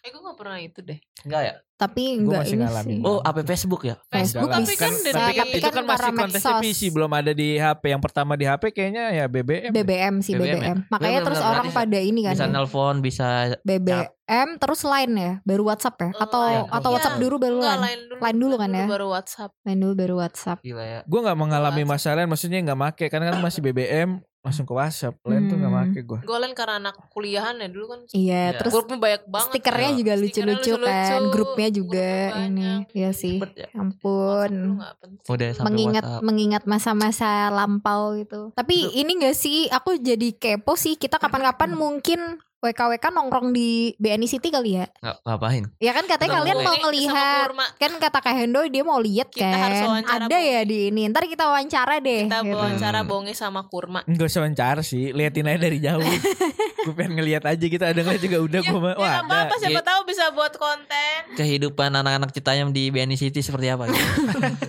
D: Eh gue gak pernah itu deh
C: Enggak ya?
A: Tapi enggak
B: Gua masih
A: ini
B: ngalamin.
A: sih.
C: Oh, app Facebook ya?
D: Facebook
A: Enggak
D: tapi
A: lah.
D: kan
A: Kan-
D: dari
B: tapi kan,
A: Tapi
B: itu kan
A: kan
B: masih
A: karena
B: kontesnya
A: medsos.
B: PC belum ada di HP. Yang pertama di HP kayaknya ya BBM.
A: BBM sih BBM.
C: BBM.
A: Makanya
C: Bener,
A: terus
C: bener,
A: orang
C: berarti
A: pada ini kan.
C: Bisa
A: ya.
C: nelpon, bisa
A: BBM terus Line ya, baru WhatsApp ya
D: Oh,
A: atau
C: Line.
A: atau
C: Iya.
A: WhatsApp dulu baru
D: Enggak
A: Line.
D: line dulu
A: Line dulu kan ya?
D: Baru WhatsApp
A: Line dulu baru WhatsApp.
C: gila ya.
B: Gue nggak mengalami masalah, maksudnya nggak make karena kan masih BBM langsung ke WhatsApp. Lain tuh nggak
A: Hmm.
B: make gue.
D: Gue line karena anak kuliahan ya dulu kan
A: Iya,
C: Iya.
A: terus
D: Grupnya banyak banget
A: stikernya juga
D: Stikernya
A: lucu-lucu kan,
D: lucu-lucu,
A: grupnya juga
D: grupnya
A: ini.
D: banyak.
A: Iya sih.
C: Cepet ya.
D: WhatsApp dulu
A: Ampun.
D: nggak penting.
C: Udah sampai
A: Mengingat
C: WhatsApp.
A: mengingat masa-masa lampau gitu. Tapi ini gak sih aku jadi kepo sih kita kapan-kapan mungkin WKWK nongkrong di BNI City kali ya.
C: Nggak, ngapain?
A: Ya kan katanya
C: Betul.
A: kalian mau
D: Ini sama
A: ngelihat
D: kurma.
A: kan kata Kak Hendo dia mau lihat
D: Kita
A: kan.
D: harus wawancara
A: Ada ya di ini. Ntar kita wawancara deh.
D: Kita
A: gitu.
D: wawancara bonge sama kurma
B: Enggak usah mencar sih, liatin aja dari jauh. gue pengen ngeliat aja gitu, ada ngeliat juga udah
D: Ya
B: gue. Wah,
D: nggak apa-apa
C: ada.
D: siapa tahu bisa buat konten
C: Kehidupan anak-anak Citayam di BNI City seperti apa? Gitu?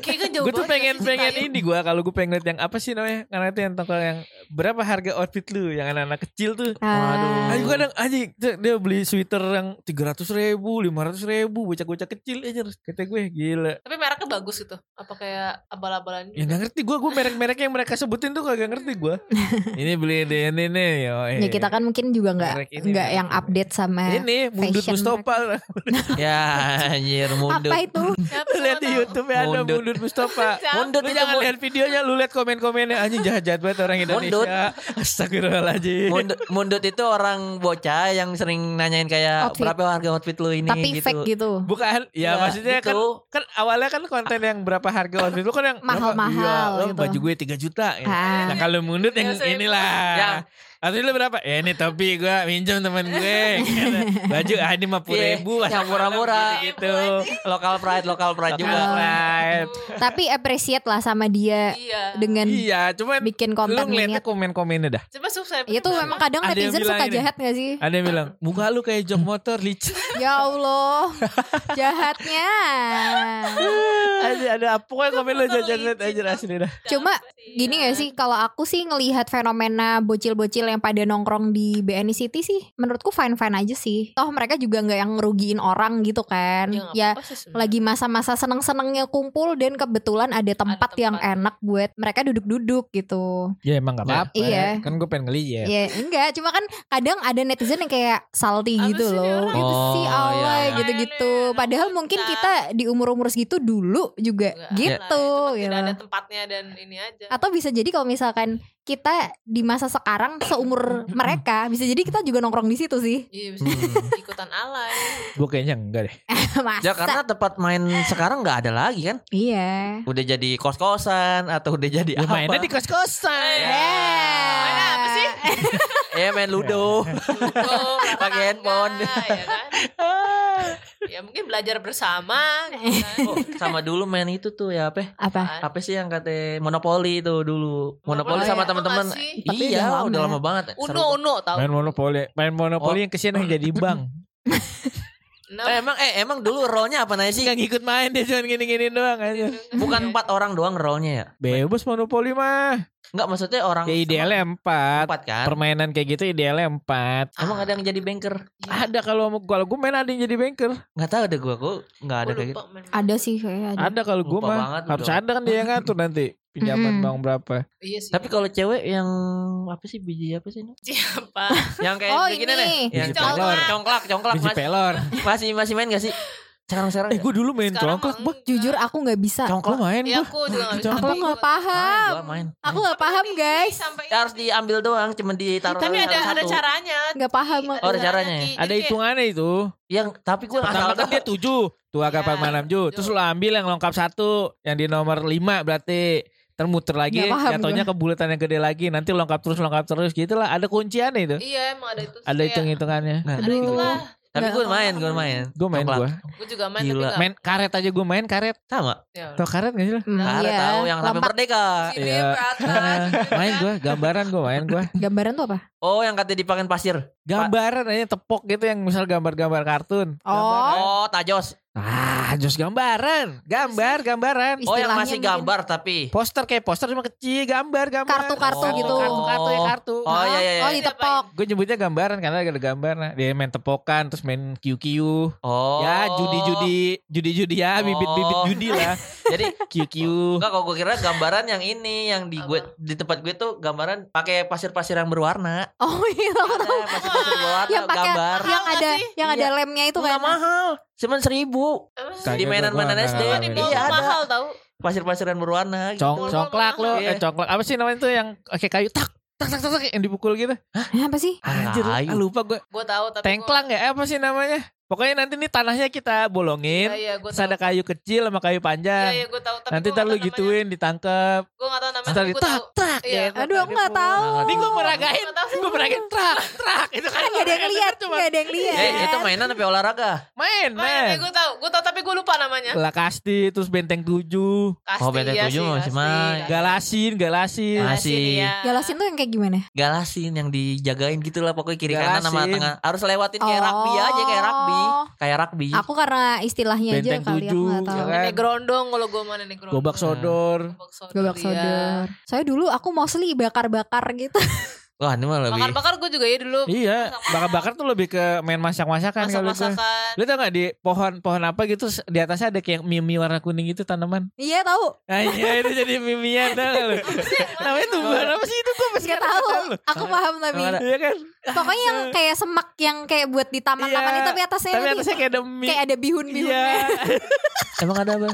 D: Kayaknya kan jauh
B: gue tuh
D: banget
B: pengen
D: dari
B: pengen
D: Citayam.
B: ini gue kalau gue pengen ngeliat yang apa sih namanya karena itu yang toko yang berapa harga outfit lu yang anak-anak kecil tuh
A: Ah.
B: Ayo kadang anjing dia dia beli sweater yang 300 ribu, 500 ribu, bocah-bocah kecil aja kata gue gila.
D: Tapi mereknya bagus gitu. Apa kayak abal-abalan
B: Ya
D: gitu.
B: gak ngerti gue, gue merek-merek yang mereka sebutin tuh kagak ngerti gue. ini beli di ini nih. yo, eh.
A: Ya kita kan mungkin juga nggak
B: Merek ini,
A: nggak
B: merek
A: yang
B: ini.
A: update sama
B: Ini mundut
A: fashion
B: Mustafa.
C: ya anjir mundut.
A: apa itu?
D: Siapa
B: Lihat di
D: tahu?
B: YouTube ya ada
C: Mundut.
B: mundut Mustafa.
D: Siapa?
C: Mundut
B: Lu
C: itu
B: jangan
C: mu-
B: lihat videonya, lu lihat komen-komennya anjing jahat-jahat banget orang
C: Mundut.
B: Indonesia. Astagfirullahaladzim.
C: mundut. Mundut itu orang bocah yang sering nanyain kayak
A: Outfit.
C: berapa harga outfit lu ini
A: Tapi
C: gitu.
A: fake gitu.
B: Bukan, ya,
C: Ya,
B: maksudnya kan
C: gitu.
B: kan awalnya kan konten yang berapa harga outfit lu kan yang
A: Mahal-mahal
B: berapa? Iya, lu
A: gitu.
B: baju gue 3 juta ya.
A: Ah.
B: Nah, kalau mundut yang
D: Biasanya
B: inilah.
C: Yang
B: Asli lu berapa? Ya ini topi gue minjem temen gue. Baju ah ini 50 ribu.
C: Iya, yang murah-murah gitu. Lokal pride, lokal pride juga.
A: Tapi appreciate lah sama dia
D: Iya.
A: dengan
B: Iya, cuman
A: bikin
B: lu
A: konten ini.
B: ngeliatnya komen-komennya dah.
D: Coba subscribe.
A: Itu memang Iya kadang
B: Ada yang
A: netizen
B: bilang
A: suka
B: ini.
A: jahat gak sih?
B: Ada yang bilang, muka lu kayak jok motor licin.
A: Ya Allah, jahatnya.
B: ada ada pokoknya komen lu jajan aja asli dah.
A: Cuma
D: Iya.
A: Gini gak
D: Ya,
A: sih kalau aku sih ngelihat fenomena bocil-bocil yang pada nongkrong di BNI City sih menurutku fine-fine aja sih. Toh mereka juga nggak yang ngerugiin orang gitu kan.
D: Ya, nggak
A: ya
D: apa-apa sih sebenarnya.
A: lagi masa-masa seneng-senengnya kumpul dan kebetulan ada tempat, yang
D: tempat.
A: enak buat mereka duduk-duduk gitu.
B: Ya emang gak apa-apa.
A: Iya.
B: Kan gue pengen ngeliat.
A: Ya
C: Iya.
A: enggak, cuma kan kadang ada netizen yang kayak salty
D: Apa
A: gitu
D: sih nih
A: loh.
D: orang?
A: Gitu sih
C: Oh,
A: Allah
C: iya.
A: gitu-gitu.
D: Aneh,
A: Padahal
D: anak
A: mungkin
D: bocah.
A: kita di umur-umur segitu dulu juga
D: Nggak,
A: gitu.
D: lah, itu mah
A: gitu.
D: Iya. Tidak ada tempatnya dan ini aja.
A: Atau bisa jadi kalau misalkan kita di masa sekarang seumur mereka bisa jadi kita juga nongkrong di situ sih.
D: Iya, bisa
C: Hmm.
D: ikutan alay.
A: Iya.
B: Gue kayaknya enggak deh.
A: Masa?
C: Ya karena tempat main sekarang nggak ada lagi kan.
A: Iya.
C: Udah jadi kos-kosan atau udah jadi
B: Ya
C: apa?
B: mainnya di kos-kosan.
C: Ya.
D: Iya.
A: Mana
D: apa sih?
C: Eh main ludo.
D: Oh,
C: Pakai handphone.
D: Ya, kan? ya mungkin belajar bersama gitu
A: Eh,
D: kan.
C: Oh, sama dulu main itu tuh ya apa?
A: Apa?
C: Apa sih yang kata Monopoly itu dulu.
A: Monopoly
C: Monopoly sama
A: ya,
C: teman-teman.
D: lama sih.
A: Tapi
C: Iya,
A: udah lama.
C: udah lama banget.
D: Uno Uno tahu.
B: Main monopoli. Main monopoli yang kesian yang jadi bank.
D: Enam. gitu
C: Eh, emang eh emang dulu rollnya apa nanya sih?
B: Gak ngikut main dia cuman gini-gini doang
D: kan.
B: aja.
D: Iya.
C: Bukan empat orang doang rollnya ya?
B: Bebas monopoli mah.
C: Enggak maksudnya orang
B: Ya idealnya empat.
C: empat kan?
B: Permainan kayak gitu idealnya empat.
C: Emang ada yang jadi banker?
B: Ada kalau kalau gue main ada yang jadi banker.
C: Nggak tahu deh gua, gua nggak ada
D: Gua
C: kayak gitu.
D: lupa main.
A: Ada sih kayak ada.
B: Ada kalau gue
C: Lupa banget
B: mah
C: lu
B: harus
C: dong.
B: ada kan dia yang ngatur nanti pinjaman
A: Mm-mm.
B: bank berapa.
D: Iya sih.
C: Tapi kalau cewek yang apa sih biji apa sih ini?
D: siapa?
C: Yang kayak
A: Oh,
C: begini
A: ini.
C: nih, yang
B: Biji
C: congklak,
B: pelor.
C: congklak, congklak
B: Biji
C: mas-
B: pelor.
C: masih masih main gak sih? Sekarang sekarang.
B: Eh gue dulu main congklak, bah.
A: Jujur aku nggak bisa.
B: Gue
C: Congklak.
B: main
D: Ya
B: gue.
D: aku juga enggak bisa.
A: Aku
D: Tapi
A: nggak
D: gua-
A: paham.
C: Ah, Gua main.
A: Aku nggak paham guys.
D: Sampai
C: Ya, harus diambil doang, cuma ditaruh
D: tapi ada
C: satu-satu.
D: ada caranya.
A: Nggak paham aku.
C: Oh, ada caranya
D: Ki.
C: ya?
D: Jadi
B: Ada
D: kayak-
B: hitungannya itu.
C: Yang Ya, tapi gue
B: Pertama kan dia tujuh Tua
D: Iya,
B: kapan malam Ju Terus lo ambil yang lengkap satu Yang di nomor lima berarti Termuter lagi
A: Nggak paham
B: Jatuhnya ke bulatan yang gede lagi Nanti lengkap terus lengkap terus gitu lah Ada kunciannya itu
D: Iya emang ada itu.
B: Ada
D: Kayak-
B: hitung-hitungannya
C: Nah,
D: Ada itulah.
C: Tapi
A: Nggak
C: gue main, gue main.
B: Gue gitu. main
C: Congklak.
B: gue
D: Gue juga main
C: Gila.
D: tapi ya
B: Main karet aja gue main karet
C: Sama.
D: enggak.
B: Tau karet gak sih lo?
A: Hmm,
C: Ada
A: iya.
C: tahu yang sampai
A: Lompat
C: merdeka.
D: Sini
B: Iya.
D: ke atas.
B: Main gue gambaran gue main gue
A: gambaran tuh apa?
C: Oh, yang katanya dipakein pasir.
B: Gambaran aja tepok gitu yang misal gambar-gambar kartun Gambaran.
C: Oh, tajos.
B: Ah just gambaran Gambar gambaran
C: Oh, yang
A: Istilahnya
C: masih
A: mungkin.
C: gambar tapi.
B: Poster kayak poster cuma kecil gambar gambar
A: Kartu-kartu
B: Kartu,
A: gitu.
B: Kartu-kartu ya kartu
C: Oh, iya iya.
A: Oh
C: iya.
A: ditepok.
B: Gue nyebutnya gambaran karena ada gambar. Nah, dia main tepokan terus main QQ.
C: Oh.
B: Ya judi-judi, judi-judi ya, bibit-bibit
D: Oh.
B: judi lah.
C: Jadi
B: QQ.
C: Enggak kalau gue kira gambaran yang ini yang di gue
D: Apa?
C: di tempat gue tuh gambaran pakai pasir-pasir yang berwarna.
A: Oh iya. aku
C: Ada
A: tahu.
C: pasir-pasir berwarna
A: Yang pakai
C: gambar.
A: yang
D: Mahal
A: ada
D: nggak sih?
A: yang ada
C: Iya.
A: lemnya itu
C: Enggak
A: kan.
C: mahal, cuman seribu
D: Emang sih?
B: Kagak,
C: di
B: gua
C: mainan-mainan
B: nggak
C: SD.
B: ngalamin.
D: Di
C: Iya
D: mall
C: ada
D: mahal tau.
C: pasir-pasir yang berwarna. Gitu.
B: Cong congklak lo,
C: Iya.
B: eh congklak. Apa sih namanya tuh yang kayak kayu tak tak tak tak, tak, yang dipukul gitu.
A: Eh, Apa sih?
B: Anjir,
C: Kayu.
B: ah, lupa gue.
D: Gue tahu tapi gua-
B: Tengklang ya, eh, apa sih namanya? Pokoknya nanti nih tanahnya kita
D: Iya
B: bolongin.
D: iya gue
B: Terus
D: tahu.
B: ada kayu kecil sama kayu
D: Iya
B: panjang.
D: iya gue tahu tapi
B: Nanti ntar lu gituin ditangkep.
D: Gue nggak tahu namanya.
B: Ntar
D: tapi
B: di
D: gua tahu.
B: tak tak
D: Iya,
B: ya.
D: gua
A: Aduh aku nggak tahu.
B: Ini gue meragain,
D: Nggak tahu sih.
B: gue meragain trak trak itu kan.
A: Gak ada yang lihat, gak ada yang lihat.
C: Eh, itu
B: ya.
C: mainan tapi olahraga.
B: Main,
D: Oh, iya,
B: main.
D: gue tahu, gue tahu tapi gue lupa
A: Ya.
D: namanya.
B: Lakasti, terus Benteng 7,
D: Kasti,
C: Oh, Benteng
D: iya sih,
C: Tujuh masih
D: Kasti,
C: main.
D: Kasti.
B: Galasin, Galasin.
C: Mas-
D: Kasti,
C: Masih.
D: iya.
A: Galasin tuh yang kayak gimana?
C: Galasin yang dijagain gitu lah pokoknya kiri kanan sama
B: Galasin.
C: tengah. Harus lewatin kayak
A: Oh.
C: rugby aja kayak rugby. Kayak rugby.
A: Aku karena istilahnya aja
B: Iya. Benteng
A: kali aku
B: tujuh,
A: gak tahu.
B: ya kan?
D: Nenek Grondong kalau gue mana Nenek
A: Ah.
D: Grondong.
B: Gobak Sodor.
D: Gobak sodor.
A: Gobak
D: iya.
A: sodor. Saya dulu aku mostly bakar-bakar gitu.
C: Wah, ini mah lebih.
D: Bakar-bakar gue juga ya dulu.
B: Iya, bakar-bakar tuh lebih ke main masak-masakan kalau gue.
D: Masak-masakan.
B: Lu tau gak di pohon-pohon apa gitu di atasnya ada kayak mimi warna kuning gitu tanaman.
A: Iya tahu.
B: Nah, iya itu jadi mimian tau gak lu. Namanya tumbuhan apa sih itu gue masih
A: Gak tahu. Aku paham tapi.
C: Sama ada-
B: Iya kan?
A: Pokoknya yang kayak semak yang kayak buat di taman-taman
B: Iya,
A: itu tapi atasnya
B: Tapi
A: tadi
B: atasnya kayak ada mie. Iya.
A: kayak gitu. ada bihun-bihunnya.
C: Emang ada apa?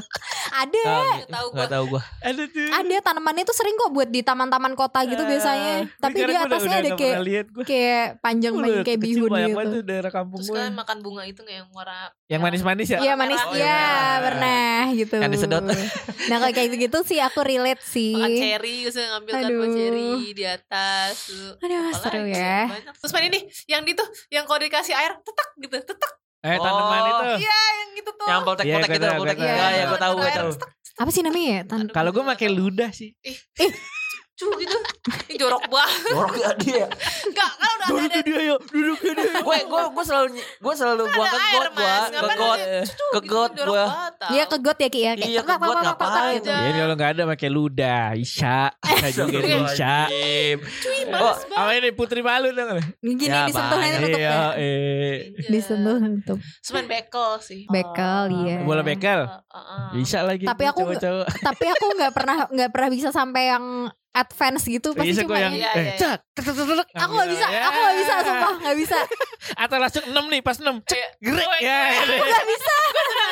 A: ada.
D: Tahu
C: Enggak tahu gua.
B: Ada tuh.
A: Ada tanamannya tuh sering kok buat di taman-taman kota gitu
B: Eh,
A: biasanya. Tapi
B: sekarang
A: dia
B: gua udah
A: Atasnya ada
B: nggak
A: kayak
B: pernah lihat gue.
A: kayak panjang main kayak bihun gitu.
B: Itu daerah kampung
D: Terus
B: gue.
D: kan makan bunga itu nggak yang warna
B: Yang manis-manis ya?
A: Iya manis
D: Oh,
A: ya
B: iya.
A: pernah gitu.
C: Yang disedot.
A: Nah kalau kayak gitu sih aku relate sih.
D: makan cherry terus ngambil kan buah
A: Iya. Aduh.
D: cherry di atas tuh.
A: Aduh
D: Apalagi
A: seru ya.
D: banyak. Terus main ini yang di tuh yang kalau dikasih air tetak gitu, tetak
B: Eh tanaman
C: Oh.
B: itu.
D: iya yang gitu tuh.
C: Yang poltek-poltek
B: Iya,
C: gitu,
B: gua tahu,
C: poltek.
A: gua tahu.
C: Ya, ya gue tahu, gue
D: Air
C: tahu.
D: tetak,
A: Apa sih namanya ya? Tan-
D: Aduh,
B: Kalau gue
D: gua
B: pakai
D: nggak
B: ludah sih.
D: tahu. Cu gitu. Ini jorok banget.
C: Jorok gak dia.
D: Enggak, kalau udah ada, ada
B: dia ya, duduk dia.
C: Gue gue gue selalu gue selalu buang ke
D: air
C: got gue,
D: mas.
C: ke
D: Ngapain
C: got.
B: Eh,
D: ada cu
C: ke
D: gitu,
C: got
D: jorok
C: gua.
D: banget, tau.
A: Iya ke got ya Ki ya kayak
C: Iya,
A: tak,
C: ke
A: tak,
C: got
A: tak, tak, tak,
C: ngapain?
A: gitu.
D: Iya.
B: Jadi kalau nggak ada pakai ludah, Isya.
D: Eh,
B: Isya juga nih, Isya.
C: Astagfirullahaladzim.
D: Cuy,
C: Oh,
D: males banget.
B: Apa ini Putri Malu dong?
A: Gini
C: Ya,
A: disentuh
C: banyak.
A: tutup
B: Iya,
A: ya.
B: eh.
D: Iya.
A: Disentuh tutup.
C: Oh.
D: Terus main bekel sih. Oh, ah,
A: Bekel iya.
B: Bola bekel.
D: Heeh, heeh.
B: Bisa lagi.
A: Tapi
B: tuh
A: aku nggak-
B: cowok-cowok.
A: Tapi aku nggak pernah nggak pernah bisa sampai yang advance gitu pasti
B: Bisa
A: cuma
B: gue yang
A: yang-
D: Iya,
B: eh,
D: iya, iya.
B: cak, tek, tek, tek, tek.
A: Aku nggak bisa, aku nggak bisa, sumpah nggak bisa,
B: Atau langsung 6 nih, pas 6.
D: Iya.
B: Grek.
D: Oh,
B: Ya,
D: iya.
B: ya, ya.
A: nggak bisa.
D: Udah